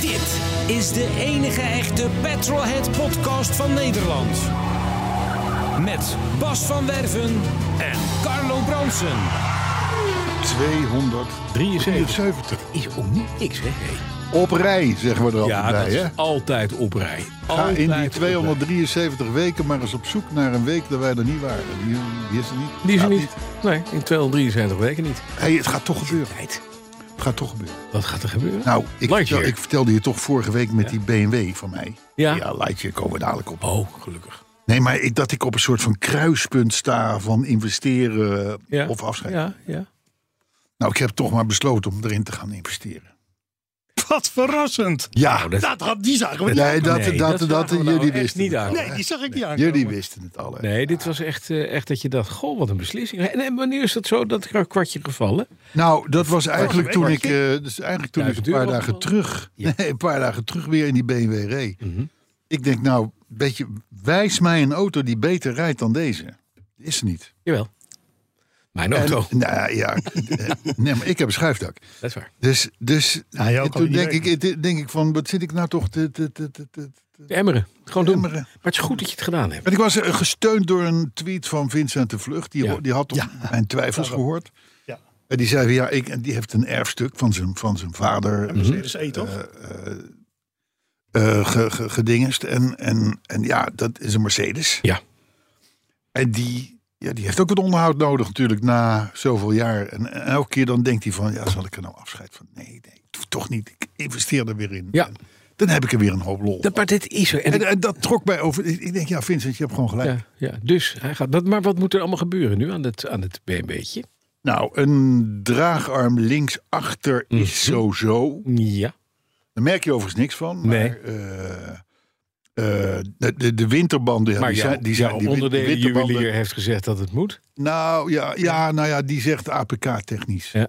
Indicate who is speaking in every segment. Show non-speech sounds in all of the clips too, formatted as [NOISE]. Speaker 1: Dit is de enige echte Petrolhead podcast van Nederland. Met Bas van Werven en Carlo Bronsen.
Speaker 2: 73
Speaker 3: Is ook niet niks, hè? Nee.
Speaker 2: Op rij, zeggen we er altijd
Speaker 3: Ja, dat
Speaker 2: bij. Hè?
Speaker 3: is altijd op rij.
Speaker 2: Ga
Speaker 3: Altijd
Speaker 2: in
Speaker 3: op rij.
Speaker 2: die 273 weken maar eens op zoek naar een week dat wij er niet waren. Die, die is er niet.
Speaker 3: Die is er
Speaker 2: Gaat
Speaker 3: niet. Nee, in 273 weken niet.
Speaker 2: Hey, het gaat toch gebeuren.
Speaker 3: Tijd.
Speaker 2: Het gaat toch gebeuren.
Speaker 3: Wat gaat er gebeuren?
Speaker 2: Nou, ik,
Speaker 3: Lightyear.
Speaker 2: vertel- ik vertelde je toch vorige week met die BMW van mij.
Speaker 3: Ja.
Speaker 2: ja Lightyear komen we dadelijk op.
Speaker 3: Oh, gelukkig.
Speaker 2: Nee, maar ik, dat ik op een soort van kruispunt sta van investeren
Speaker 3: Ja.
Speaker 2: of afscheid.
Speaker 3: Ja, ja.
Speaker 2: Nou, ik heb toch maar besloten om erin te gaan investeren.
Speaker 4: Wat verrassend.
Speaker 2: Ja,
Speaker 3: dat-
Speaker 4: Dat had, die zagen we niet.
Speaker 2: nee, dat,
Speaker 3: Nee,
Speaker 2: dat, dat,
Speaker 3: dat zagen we nou
Speaker 2: jullie
Speaker 3: echt
Speaker 2: wisten
Speaker 3: niet
Speaker 2: het
Speaker 3: aan.
Speaker 2: al, hè?
Speaker 4: Nee, die zag ik niet aan.
Speaker 2: Jullie wisten het al. hè?
Speaker 3: Nee, dit was echt, eh, echt dat je dacht, goh, wat een beslissing. En, en wanneer is dat zo, dat kra- kwartje gevallen?
Speaker 2: Nou, dat was eigenlijk
Speaker 4: een
Speaker 2: toen ik,
Speaker 4: week,
Speaker 2: eh, dus eigenlijk toen ik
Speaker 3: Duizend
Speaker 2: een paar
Speaker 3: euro
Speaker 2: dagen
Speaker 3: of zo?
Speaker 2: terug, nee, [LAUGHS] een paar dagen terug weer in die BMW reed.
Speaker 4: Mhm.
Speaker 2: Ik denk, nou, weet je, wijs mij een auto die beter rijdt dan deze. Is er niet.
Speaker 3: Jawel. Mijn
Speaker 2: En,
Speaker 3: auto.
Speaker 2: nou ja, [LAUGHS] eh, nee, maar ik heb een schuifdak.
Speaker 3: Dat is waar.
Speaker 2: Dus, dus
Speaker 4: Ja, Nou, jij ook
Speaker 2: en
Speaker 4: al
Speaker 2: toen
Speaker 4: die
Speaker 2: denk
Speaker 4: week.
Speaker 2: ik, eh, denk ik van, wat zit ik nou toch te, te, te, te, te- te-
Speaker 3: De emmeren. Gewoon doen.
Speaker 2: Emmeren.
Speaker 3: Maar het is goed dat je het gedaan hebt.
Speaker 2: Want ik was eh, gesteund door een tweet van Vincent de Vlucht. Die,
Speaker 3: Ja.
Speaker 2: die had toch mijn twijfels gehoord.
Speaker 4: Ja.
Speaker 2: En die zei, van, ja, ik, en die heeft een erfstuk van zijn, van zijn vader.
Speaker 4: Mercedes E, toch?
Speaker 2: eh, ge- ge- gedingest. En, en, en ja, dat is een Mercedes.
Speaker 3: Ja.
Speaker 2: En die, ja, die heeft ook het onderhoud nodig natuurlijk na zoveel jaar. En, en elke keer dan denkt hij van, ja, zal ik er nou afscheid van? Nee, nee, doe toch niet. Ik investeer er weer in.
Speaker 3: Ja.
Speaker 2: En dan heb ik er weer een hoop lol.
Speaker 3: Dat, maar dit is er. En
Speaker 2: en,
Speaker 3: ik-
Speaker 2: en dat trok mij over. Ik ik denk, ja, Vincent, je hebt gewoon gelijk.
Speaker 3: ja, ja, dus hij gaat. Wat, maar wat moet er allemaal gebeuren nu aan het, aan het BMW'tje?
Speaker 2: Nou, een draagarm linksachter is
Speaker 3: Mhm.
Speaker 2: sowieso.
Speaker 3: Ja.
Speaker 2: Daar merk je overigens niks van. Maar,
Speaker 3: Nee.
Speaker 2: eh, eh, de, de, de winterbanden, ja,
Speaker 3: Maar
Speaker 2: die
Speaker 3: jouw,
Speaker 2: zijn, die zijn
Speaker 3: jouw
Speaker 2: die win- winterbanden-
Speaker 3: onderdelenjuwelier heeft gezegd dat het moet.
Speaker 2: Nou ja, ja, nou ja, die zegt APK-technisch.
Speaker 3: Ja.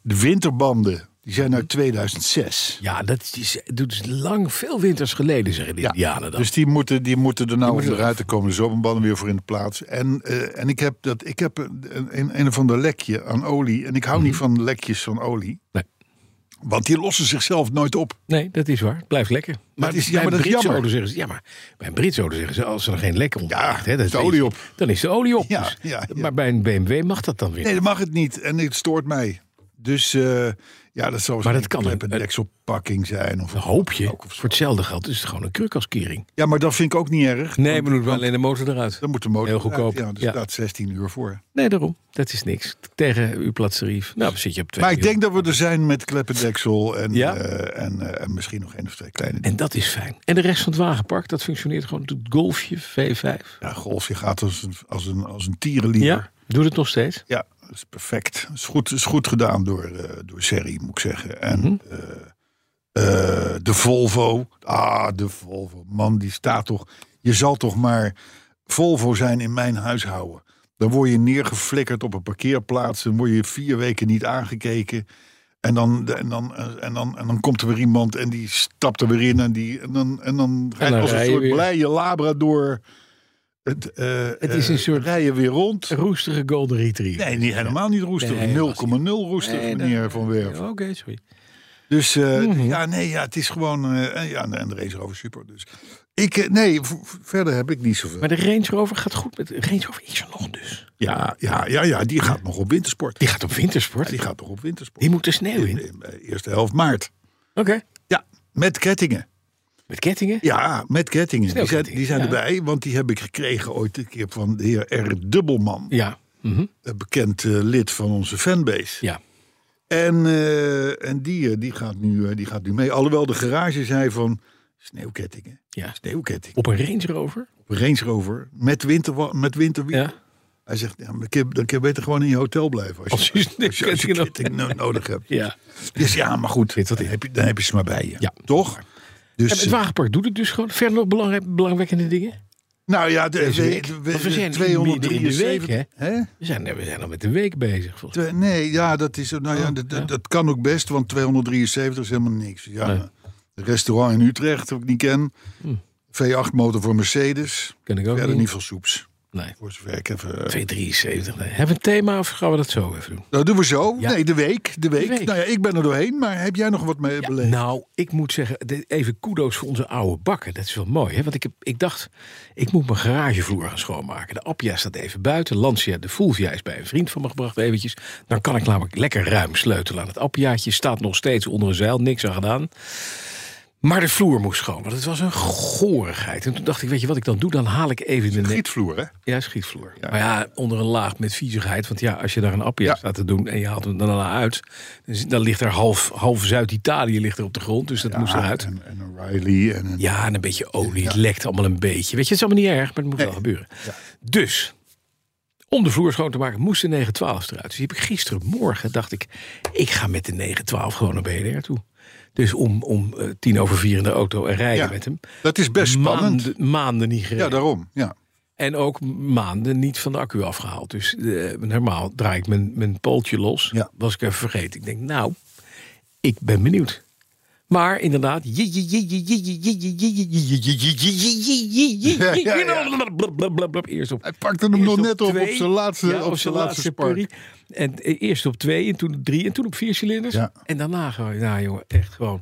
Speaker 2: De winterbanden, die zijn uit 2006.
Speaker 3: Ja, dat is, doet is lang, veel winters geleden, zeggen de Indianen dan.
Speaker 2: Dus die moeten, die moeten er nou
Speaker 3: moeten
Speaker 2: onderuit. Er komen de zomerbanden weer voor in de plaats. En, eh, en ik heb, dat, ik heb een, een, een of ander lekje aan olie. En ik hou niet van lekjes van olie.
Speaker 3: Mhm. Nee.
Speaker 2: Want die lossen zichzelf nooit op.
Speaker 3: nee, dat is waar. Het blijft lekker. Maar,
Speaker 2: het is- ja,
Speaker 3: bij
Speaker 2: maar dat is
Speaker 3: Britse
Speaker 2: jammer.
Speaker 3: auto's zeggen ze, ja, maar bij een Britse auto zeggen ze, als er geen lek ontstaat, hè, dat
Speaker 2: is de olie
Speaker 3: easy,
Speaker 2: op.
Speaker 3: Dan is de olie op.
Speaker 2: Ja,
Speaker 3: Dus-
Speaker 2: ja, ja.
Speaker 3: Maar bij een BMW mag dat dan weer.
Speaker 2: Nee, dat mag het niet. En het stoort mij. Dus eh, ja, dat zou
Speaker 3: Maar dat kan eh,
Speaker 2: een
Speaker 3: een-
Speaker 2: dekselpakking zijn. Of,
Speaker 3: Dan hoop je.
Speaker 2: Ook of zo.
Speaker 3: Voor hetzelfde geld is het gewoon een krukaskering.
Speaker 2: Ja, maar dat vind ik ook niet erg.
Speaker 3: Nee, maar doet wel alleen de motor eruit.
Speaker 2: Dan moet de motor
Speaker 3: Hm. Heel goedkoop,
Speaker 2: eruit. Ja, dus
Speaker 3: ja.
Speaker 2: staat 16 uur voor.
Speaker 3: Nee, daarom. Dat is niks. Tegen uw platserief. Nou, dan zit je op twee.
Speaker 2: Maar ik
Speaker 3: miljoen.
Speaker 2: denk dat we er zijn met kleppendeksel en,
Speaker 3: Ja?
Speaker 2: eh, en, eh, en misschien nog één of twee kleine dingen.
Speaker 3: En dat is fijn. En de rest van het wagenpark, dat functioneert gewoon. Het golfje V5.
Speaker 2: Ja, golfje gaat als een, als een, als een tierenlier.
Speaker 3: Ja, doet het nog steeds.
Speaker 2: Ja, dat is perfect. Dat is goed, is goed gedaan door, eh door Serri, moet ik zeggen. En
Speaker 3: Mhm.
Speaker 2: eh, eh, de Volvo. Ah, de Volvo. Man, die staat toch... Je zal toch maar Volvo zijn in mijn huishouden. Dan word je neergeflikkerd op een parkeerplaats. Dan word je vier weken niet aangekeken. En dan, en dan, en dan, en dan komt er weer iemand en die stapt er weer in. En, die, en, dan, en dan ga je
Speaker 3: dan
Speaker 2: als
Speaker 3: rij
Speaker 2: een
Speaker 3: je
Speaker 2: soort
Speaker 3: weer.
Speaker 2: blije labrador... Het, eh,
Speaker 3: Het is
Speaker 2: eh,
Speaker 3: een soort-
Speaker 2: Rij je weer rond.
Speaker 3: Roestige golden retriever.
Speaker 2: Nee, niet, helemaal niet roestig.
Speaker 3: Nee,
Speaker 2: 0,0
Speaker 3: was niet.
Speaker 2: roestig,
Speaker 3: Nee, Mhm. dat-
Speaker 2: meneer Van Werf.
Speaker 3: Oké, sorry.
Speaker 2: Dus eh, ja, nee, ja, het is gewoon... eh, en ja, en de Race Rover Super. Dus ik, eh, nee, v- v- verder heb ik niet zoveel.
Speaker 3: Maar de Range Rover gaat goed met de Range Rover is er nog dus.
Speaker 2: Ja, ja, ja, ja, die gaat nog op wintersport.
Speaker 3: Die gaat op wintersport.
Speaker 2: Ja, die
Speaker 3: die,
Speaker 2: gaat nog op wintersport.
Speaker 3: moet de sneeuw in.
Speaker 2: In,
Speaker 3: Oké.
Speaker 2: in, eh, eerste helft maart. Ja, met kettingen.
Speaker 3: Met kettingen.
Speaker 2: Ja, met kettingen. Die zijn, die zijn
Speaker 3: Ja.
Speaker 2: erbij, want die heb ik gekregen ooit een keer van de heer R. Dubbelman.
Speaker 3: Ja. mhm,
Speaker 2: Een bekend eh, lid van onze fanbase.
Speaker 3: ja.
Speaker 2: En, eh, en die, eh, die, gaat nu, eh, die gaat nu mee. Alhoewel de garage zei van sneeuwkettingen.
Speaker 3: Ja.
Speaker 2: Sneeuwketting.
Speaker 3: Op een Range Rover.
Speaker 2: Op een Range Rover met, winter, met winterwiel.
Speaker 3: Ja.
Speaker 2: Hij zegt, ja, maar ik heb- dan kan je beter gewoon in je hotel blijven. Als,
Speaker 3: Als je sneeuwkettingen nodig
Speaker 2: ketting no- nodig hebt.
Speaker 3: Ja.
Speaker 2: Dus ja, maar goed,
Speaker 3: Weet wat
Speaker 2: dan
Speaker 3: ik-
Speaker 2: heb, je, dan heb je ze maar bij je.
Speaker 3: Ja.
Speaker 2: Toch?
Speaker 3: En
Speaker 2: Dus,
Speaker 3: het wagenpark doet het dus gewoon. Verder nog belangrijk, belangwekkende dingen.
Speaker 2: nou ja, de,
Speaker 3: Deze
Speaker 2: we-
Speaker 3: week.
Speaker 2: we-
Speaker 3: Want we zijn in-
Speaker 2: 273.
Speaker 3: in de week,
Speaker 2: hè?
Speaker 3: We zijn, we zijn al met de week bezig. volgens
Speaker 2: Twee- nee, ja, dat, is, nou ja,
Speaker 3: Oh,
Speaker 2: dat,
Speaker 3: ja.
Speaker 2: dat kan ook best, want 273 is helemaal niks. Ja,
Speaker 3: Nee.
Speaker 2: maar Restaurant in Utrecht, dat ik niet ken.
Speaker 3: Hm.
Speaker 2: V8 motor voor Mercedes.
Speaker 3: Ken ik ook
Speaker 2: Verder
Speaker 3: niet.
Speaker 2: niet veel soeps.
Speaker 3: Nee.
Speaker 2: Voor zover ik even...
Speaker 3: 273. Nee. Hebben we een thema of gaan we dat zo even doen?
Speaker 2: Dat doen we zo.
Speaker 3: Ja.
Speaker 2: Nee, de week, de week.
Speaker 3: De week.
Speaker 2: Nou ja, ik ben er doorheen, maar heb jij nog wat mee beleefd?
Speaker 3: Nou, ik moet zeggen, dit- even kudo's voor onze oude bakken. Dat is wel mooi. Hè? Want ik, heb, ik dacht, ik moet mijn garagevloer gaan schoonmaken. De Appia staat even buiten. Lancia, de Fulvia is bij een vriend van me gebracht eventjes. Dan kan ik namelijk lekker ruim sleutelen aan het Appiaatje. Staat nog steeds onder een zeil, niks aan gedaan. Maar de vloer moest schoon, want het was een gorigheid. En toen dacht ik, weet je wat ik dan doe? Dan haal ik even de... ne-
Speaker 2: Gietvloer, hè?
Speaker 3: Ja, schietvloer.
Speaker 2: Ja.
Speaker 3: Maar ja, onder een laag met viezigheid. Want ja, als je daar een appje
Speaker 2: Ja.
Speaker 3: staat te doen en je haalt hem daarna uit... dan zit- dan ligt er half, half Zuid-Italië ligt er op de grond. Dus dat moest eruit.
Speaker 2: En, en een Riley en een...
Speaker 3: Ja, en een beetje olie. Het lekt allemaal een beetje. Weet je, het is allemaal niet erg, maar het moet wel gebeuren. Dus, om de vloer schoon te maken, moest de 912 eruit. Dus die heb ik gisterenmorgen, dacht ik, ik ga met de 912 gewoon naar BNR toe. Dus om, om eh, tien over vier in de auto en rijden
Speaker 2: Ja.
Speaker 3: met hem.
Speaker 2: Dat is best spannend.
Speaker 3: Maanden, maanden niet gereden.
Speaker 2: Ja, daarom. Ja.
Speaker 3: En ook maanden niet van de accu afgehaald. Dus eh, normaal draai ik mijn, mijn pooltje los.
Speaker 2: Ja.
Speaker 3: Was ik even vergeten. Ik denk, nou, ik ben benieuwd. Maar inderdaad.
Speaker 2: Ja, ja, ja.
Speaker 3: Eerst op
Speaker 2: Hij pakte hem nog
Speaker 3: Eerst
Speaker 2: net op, op
Speaker 3: twee.
Speaker 2: zijn laatste,
Speaker 3: Ja,
Speaker 2: op zijn laatste
Speaker 3: purrie.
Speaker 2: spark.
Speaker 3: En e- eerst op twee, en toen op drie, en toen op vier cilinders.
Speaker 2: Ja.
Speaker 3: En daarna gewoon, nou jongen, echt gewoon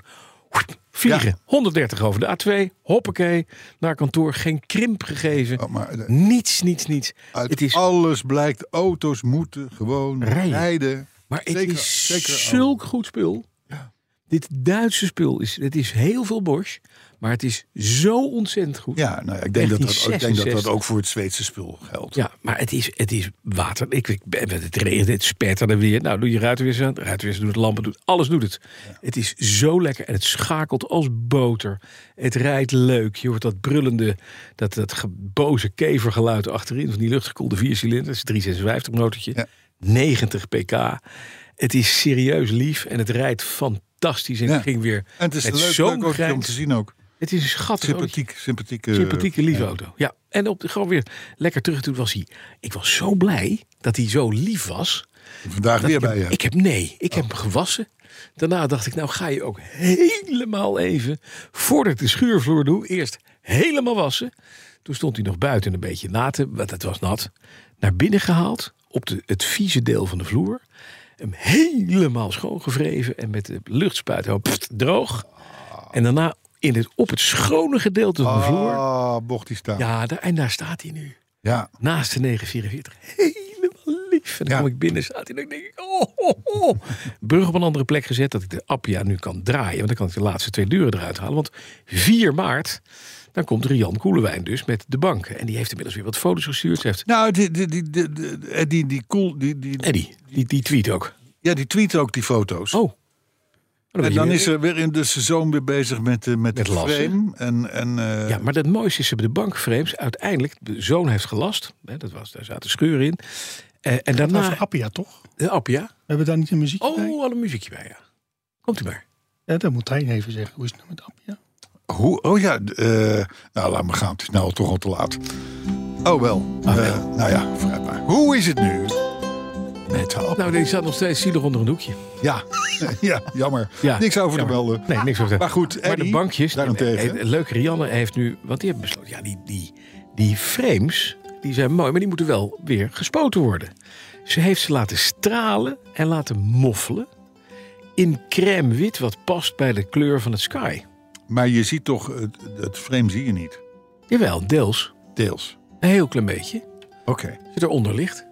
Speaker 3: woep, vliegen.
Speaker 2: Ja.
Speaker 3: 130 over de A2, hoppakee, naar kantoor. Geen krimp gegeven,
Speaker 2: Oh, maar de-
Speaker 3: niets, niets, niets.
Speaker 2: uit
Speaker 3: het is,
Speaker 2: alles blijkt, auto's moeten gewoon
Speaker 3: Rijden.
Speaker 2: rijden.
Speaker 3: maar het
Speaker 2: zeker-
Speaker 3: is
Speaker 2: zeker al.
Speaker 3: zulk goed spul. Dit Duitse spul, is, het is heel veel Bosch, maar het is zo ontzettend goed.
Speaker 2: Ja, nou ja, ik, denk dat dat, ik denk dat dat
Speaker 3: 1966.
Speaker 2: ook voor het Zweedse spul geldt.
Speaker 3: Ja, maar het is, het is water. Ik, ik, ben- het regent, het spetterde weer. Nou, doe je ruitenwissers aan. De Ruitenwissers doet het, lampen doet Alles doet het. Het is zo lekker en het schakelt als boter. Het rijdt leuk. Je hoort dat brullende, dat, dat ge- boze kevergeluid achterin. Van die luchtgekoelde viercilinders. 356 motortje.
Speaker 2: Ja.
Speaker 3: 90 pk. Het is serieus lief en het rijdt fantastisch. En
Speaker 2: Ja.
Speaker 3: het ging weer
Speaker 2: En het is
Speaker 3: met
Speaker 2: een leuk,
Speaker 3: zo'n
Speaker 2: leuk autootje om
Speaker 3: grijns-
Speaker 2: te zien ook.
Speaker 3: Het is een schattig autootje.
Speaker 2: Sympathiek, sympathieke...
Speaker 3: Sympathieke lieve auto. Ja, en op, de- gewoon weer lekker terug. Toen was hij. Ik was zo blij dat hij zo lief was.
Speaker 2: Vandaag weer bij je. Oh.
Speaker 3: Ik heb nee, ik heb hem gewassen. Daarna dacht ik, nou ga je ook helemaal even, voordat ik de schuurvloer doe, eerst helemaal wassen. Toen stond hij nog buiten een beetje naten, want het was nat. Naar binnen gehaald, op de, het vieze deel van de vloer. Hem helemaal schoongevreven en met de luchtspuit helemaal pft, droog. En daarna in het, op het schone gedeelte van de vloer.
Speaker 2: Ah, bocht die staan. Ja.
Speaker 3: Ja, daar, en daar staat hij nu. Naast de 944. Helemaal lief. En dan
Speaker 2: Ja.
Speaker 3: kom ik binnen, staat hij. En dan denk ik, oh, oh, oh. Brug op een andere plek gezet. Dat ik de Appia nu kan draaien. Want dan kan ik de laatste twee deuren eruit halen. Want 4 maart, dan komt Rian Koelewijn dus met de bank. En die heeft inmiddels weer wat foto's gestuurd. Ze heeft
Speaker 2: Nou, die, die, die, die, die, eh, die, die, cool, die, die,
Speaker 3: Eddie, die, die tweet ook.
Speaker 2: ja, die tweet ook die foto's.
Speaker 3: Oh. Dan weet
Speaker 2: en
Speaker 3: je
Speaker 2: dan is
Speaker 3: weer-
Speaker 2: eh, er weer in de seizoen weer bezig met, de met,
Speaker 3: Met
Speaker 2: het
Speaker 3: lassen.
Speaker 2: frame. En, en, eh,
Speaker 3: Ja, maar het mooiste is, ze hebben de bankframes uiteindelijk... De zoon heeft gelast. Hè, dat was, daar zaten scheuren in. Eh, en
Speaker 4: Over
Speaker 3: daarna...
Speaker 4: Appia, toch? We
Speaker 3: De Appia.
Speaker 4: hebben daar niet een muziek bij?
Speaker 3: Oh, al een muziekje bij, ja. Komt-ie maar.
Speaker 4: Ja, dat moet hij even zeggen. Hoe is het nou met Appia?
Speaker 2: Hoe? Oh ja, d- eh, nou laat me gaan. Het is nou toch al te laat. Oh wel.
Speaker 3: Ah,
Speaker 2: Eh, nou ja, vooruit maar. Hoe is het nu? Met de app.
Speaker 3: Nou, deze staat nog steeds zielig onder een doekje.
Speaker 2: Ja. [LAUGHS] ja, jammer.
Speaker 3: Ja,
Speaker 2: niks over te
Speaker 3: jammer.
Speaker 2: melden.
Speaker 3: Nee, niks over te
Speaker 2: Maar goed,
Speaker 3: Maar de
Speaker 2: Eddie,
Speaker 3: bankjes.
Speaker 2: daarentegen.
Speaker 3: eh, eh, Leuk, Rianne heeft nu. Want die hebben besloten. Ja, die, die, die frames. Die zijn mooi, maar die moeten wel weer gespoten worden. Ze heeft ze laten stralen en laten moffelen. In crème wit, wat past bij de kleur van het sky.
Speaker 2: Maar je ziet toch, het, het frame zie je niet.
Speaker 3: Jawel, deels.
Speaker 2: Deels.
Speaker 3: Een heel klein beetje.
Speaker 2: Oké.
Speaker 3: Als je eronder ligt.
Speaker 2: Ja,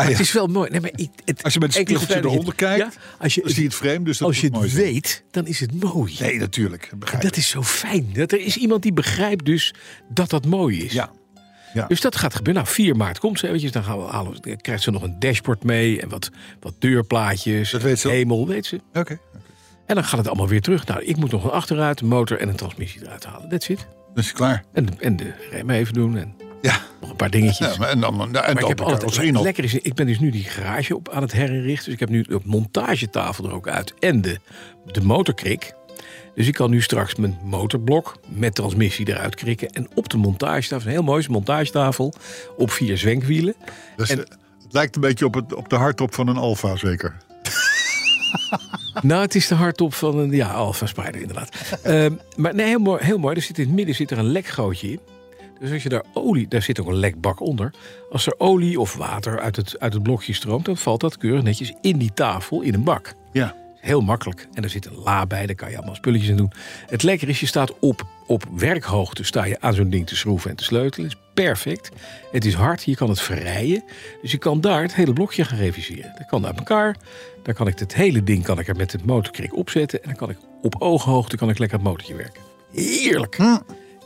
Speaker 2: Ah, ja.
Speaker 3: Het is wel mooi. Nee, maar ik- het,
Speaker 2: Als je met een
Speaker 3: enkele
Speaker 2: spiegeltje
Speaker 3: fijne-
Speaker 2: eronder kijkt,
Speaker 3: Ja, als je,
Speaker 2: Dan zie je het frame, dus dat
Speaker 3: Oh, als je
Speaker 2: moet mooi
Speaker 3: het
Speaker 2: zijn.
Speaker 3: weet, dan is het mooi.
Speaker 2: Nee, natuurlijk. Begrijp
Speaker 3: Dat is zo fijn. Dat er is iemand die begrijpt dus dat dat mooi is.
Speaker 2: Ja. Ja.
Speaker 3: Dus dat gaat gebeuren. Nou, 4 maart komt ze eventjes. dus Dan gaan we halen, dan krijgt ze nog een dashboard mee. En wat, wat deurplaatjes.
Speaker 2: Dat weet ze al.
Speaker 3: Hemel, weet ze.
Speaker 2: Oké.
Speaker 3: En dan gaat het allemaal weer terug. Nou, ik moet nog een achteruit, een motor en een transmissie eruit halen. That's it.
Speaker 2: Dus klaar.
Speaker 3: En, de- en de rem even doen. En
Speaker 2: Ja.
Speaker 3: nog een paar dingetjes.
Speaker 2: ja maar en dan, en dan
Speaker 3: Maar ik heb altijd
Speaker 2: misschien
Speaker 3: het
Speaker 2: nog.
Speaker 3: lekker is, ik ben dus nu die garage op aan het herinrichten. Dus ik heb nu de montagetafel er ook uit en de, de motorkrik. Dus ik kan nu straks mijn motorblok met transmissie eruit krikken. En op de montagetafel, een heel mooie montagetafel, op vier zwenkwielen.
Speaker 2: Dus, eh, het lijkt een beetje op, het, op de hardtop van een Alfa, zeker.
Speaker 3: Nou, het is de hardtop van een ja, Alfa Spider inderdaad. Ehm, maar nee, heel mooi, heel mooi. Er zit in het midden zit er een lekgootje in. Dus als je daar olie, daar zit ook een lekbak onder. Als er olie of water uit het, uit het blokje stroomt, dan valt dat keurig netjes in die tafel in een bak.
Speaker 2: Ja.
Speaker 3: Heel makkelijk. En er zit een la bij, daar kan je allemaal spulletjes in doen. Het lekker is, je staat op, op werkhoogte sta je aan zo'n ding te schroeven en te sleutelen. Het is perfect. Het is hard, je kan het verrijen. Dus je kan daar het hele blokje gaan reviseren. Dat kan uit elkaar. Dan kan ik het hele ding kan ik er met het motorkrik opzetten. En dan kan ik op ooghoogte kan ik lekker het motortje werken. Heerlijk.
Speaker 2: Hm.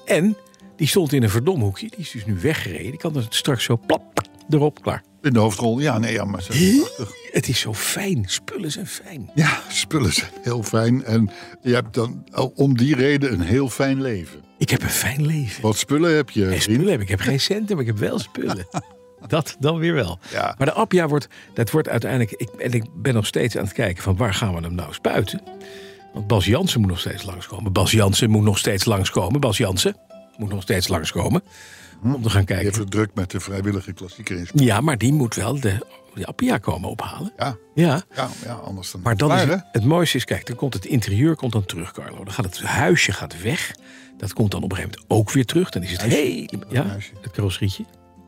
Speaker 3: En die stond in een verdomme hoekje. Die is dus nu weggereden. Die kan dan straks zo plap erop, klaar.
Speaker 2: In de hoofdrol, ja, nee, ja, maar ze zijn prachtig.
Speaker 3: Het is zo fijn. Spullen zijn fijn.
Speaker 2: Ja, spullen zijn heel fijn. En je hebt dan al om die reden een heel fijn leven.
Speaker 3: Ik heb een fijn leven.
Speaker 2: Wat spullen heb je,
Speaker 3: En
Speaker 2: vriend?
Speaker 3: spullen heb ik. Ik heb geen centen, maar ik heb wel spullen. Dat dan weer wel.
Speaker 2: Ja.
Speaker 3: Maar de Appia wordt, dat wordt uiteindelijk... Ik, en ik ben nog steeds aan het kijken van waar gaan we hem nou spuiten? Want Bas Jansen moet nog steeds langskomen. Bas Jansen moet nog steeds langskomen. Bas Jansen moet nog steeds langskomen. Om
Speaker 2: Je
Speaker 3: te gaan
Speaker 2: hebt
Speaker 3: kijken.
Speaker 2: het druk met de vrijwillige klassieker in Spanje.
Speaker 3: Ja, maar die moet wel de, de Appia komen ophalen.
Speaker 2: Ja,
Speaker 3: Ja.
Speaker 2: ja, ja, anders dan.
Speaker 3: Maar dan
Speaker 2: Klaar,
Speaker 3: is
Speaker 2: hè?
Speaker 3: het, het mooiste is, kijk, dan komt het interieur komt dan terug, Carlo. Dan gaat het huisje gaat weg. Dat komt dan op een gegeven moment ook weer terug. Dan is het hele, ja,
Speaker 2: Huisje.
Speaker 3: het carrosserietje.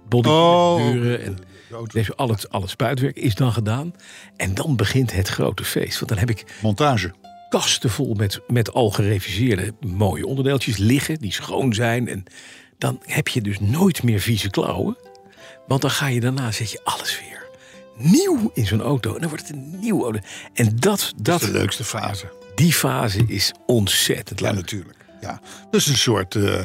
Speaker 3: Body,
Speaker 2: Oh.
Speaker 3: muren en
Speaker 2: De auto-
Speaker 3: deze, al, het, al het spuitwerk is dan gedaan. En dan begint het grote feest. Want dan heb ik
Speaker 2: Montage.
Speaker 3: kasten vol met, met al gereviseerde mooie onderdeeltjes liggen. Die schoon zijn. En dan heb je dus nooit meer vieze klauwen. Want dan ga je daarna, zet je alles weer nieuw in zo'n auto. En dan wordt het een nieuw auto. En dat,
Speaker 2: Dat
Speaker 3: dat,
Speaker 2: is de leukste fase.
Speaker 3: die fase is ontzettend
Speaker 2: Ja,
Speaker 3: leuk.
Speaker 2: natuurlijk. Ja. Dus een soort, eh,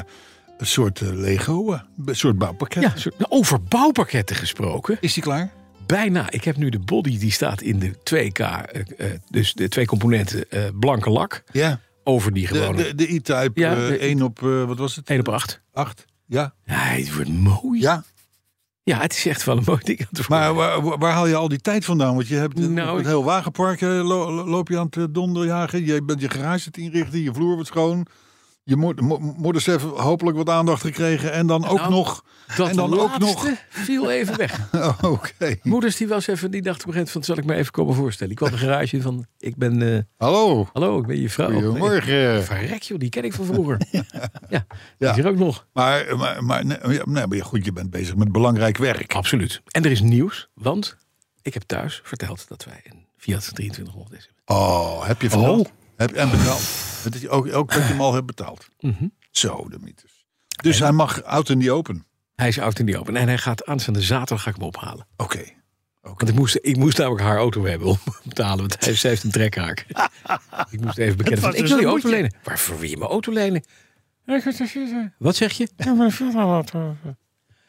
Speaker 2: een soort eh, Lego, eh, een soort bouwpakket.
Speaker 3: Ja, zo- nou, over bouwpakketten gesproken.
Speaker 2: Is die klaar?
Speaker 3: Bijna. Ik heb nu de body, die staat in de 2K. eh, eh, dus de twee componenten eh, blanke lak.
Speaker 2: Ja.
Speaker 3: Over die
Speaker 2: De,
Speaker 3: gewone
Speaker 2: de, de E-Type,
Speaker 3: Ja,
Speaker 2: ja,
Speaker 3: de-
Speaker 2: 1 op, eh, wat was het?
Speaker 3: 1 op 8.
Speaker 2: 8. Ja.
Speaker 3: Ja, het wordt mooi. Ja.
Speaker 2: ja.
Speaker 3: het is echt wel een mooi ding. aan te voeren.
Speaker 2: Maar waar, waar- waar haal je al die tijd vandaan? Want je hebt een
Speaker 3: Nou,
Speaker 2: het
Speaker 3: ik-
Speaker 2: heel wagenpark eh, lo- lo- loop je aan het eh, donderjagen. Je bent je garage te inrichten, je vloer wordt schoon. Je moed- mo- moeders heeft hopelijk wat aandacht gekregen. En dan ook
Speaker 3: Nou,
Speaker 2: nog.
Speaker 3: dat
Speaker 2: en dan ook
Speaker 3: laatste
Speaker 2: nog.
Speaker 3: viel even [LAUGHS] weg.
Speaker 2: [LAUGHS] Oké.
Speaker 3: Moeders die was even, die dacht op een gegeven moment van, zal ik me even komen voorstellen. Ik kwam de garage in van, ik ben, eh,
Speaker 2: Hallo.
Speaker 3: hallo, ik ben je vrouw.
Speaker 2: Goedemorgen.
Speaker 3: Verrek joh, die ken ik van
Speaker 2: [LAUGHS]
Speaker 3: vroeger. ja, die
Speaker 2: Ja.
Speaker 3: is er ook nog.
Speaker 2: Maar, maar, maar, nee, ja, nee, maar goed, je bent bezig met belangrijk werk.
Speaker 3: Absoluut. En er is nieuws, want ik heb thuis verteld dat wij een Fiat 2300 S hebben.
Speaker 2: Oh, heb je verteld? Heb, en betaald. Het is ook, ook dat je hem al hebt betaald. Zo, de mythes. Dus hij mag out in the open.
Speaker 3: Hij is oud in die open en hij gaat aanstaande zaterdag ga ik hem ophalen.
Speaker 2: Oké.
Speaker 3: Want ik moest, ik moest namelijk haar auto hebben om te betalen, want hij, zij heeft een
Speaker 4: [LAUGHS]
Speaker 3: trekhaak. ik moest even bekennen van,
Speaker 4: was
Speaker 3: ik
Speaker 4: dus
Speaker 3: wil je
Speaker 4: een
Speaker 3: auto
Speaker 4: moedje.
Speaker 3: lenen. Waarvoor wil je mijn auto lenen? Wat zeg je?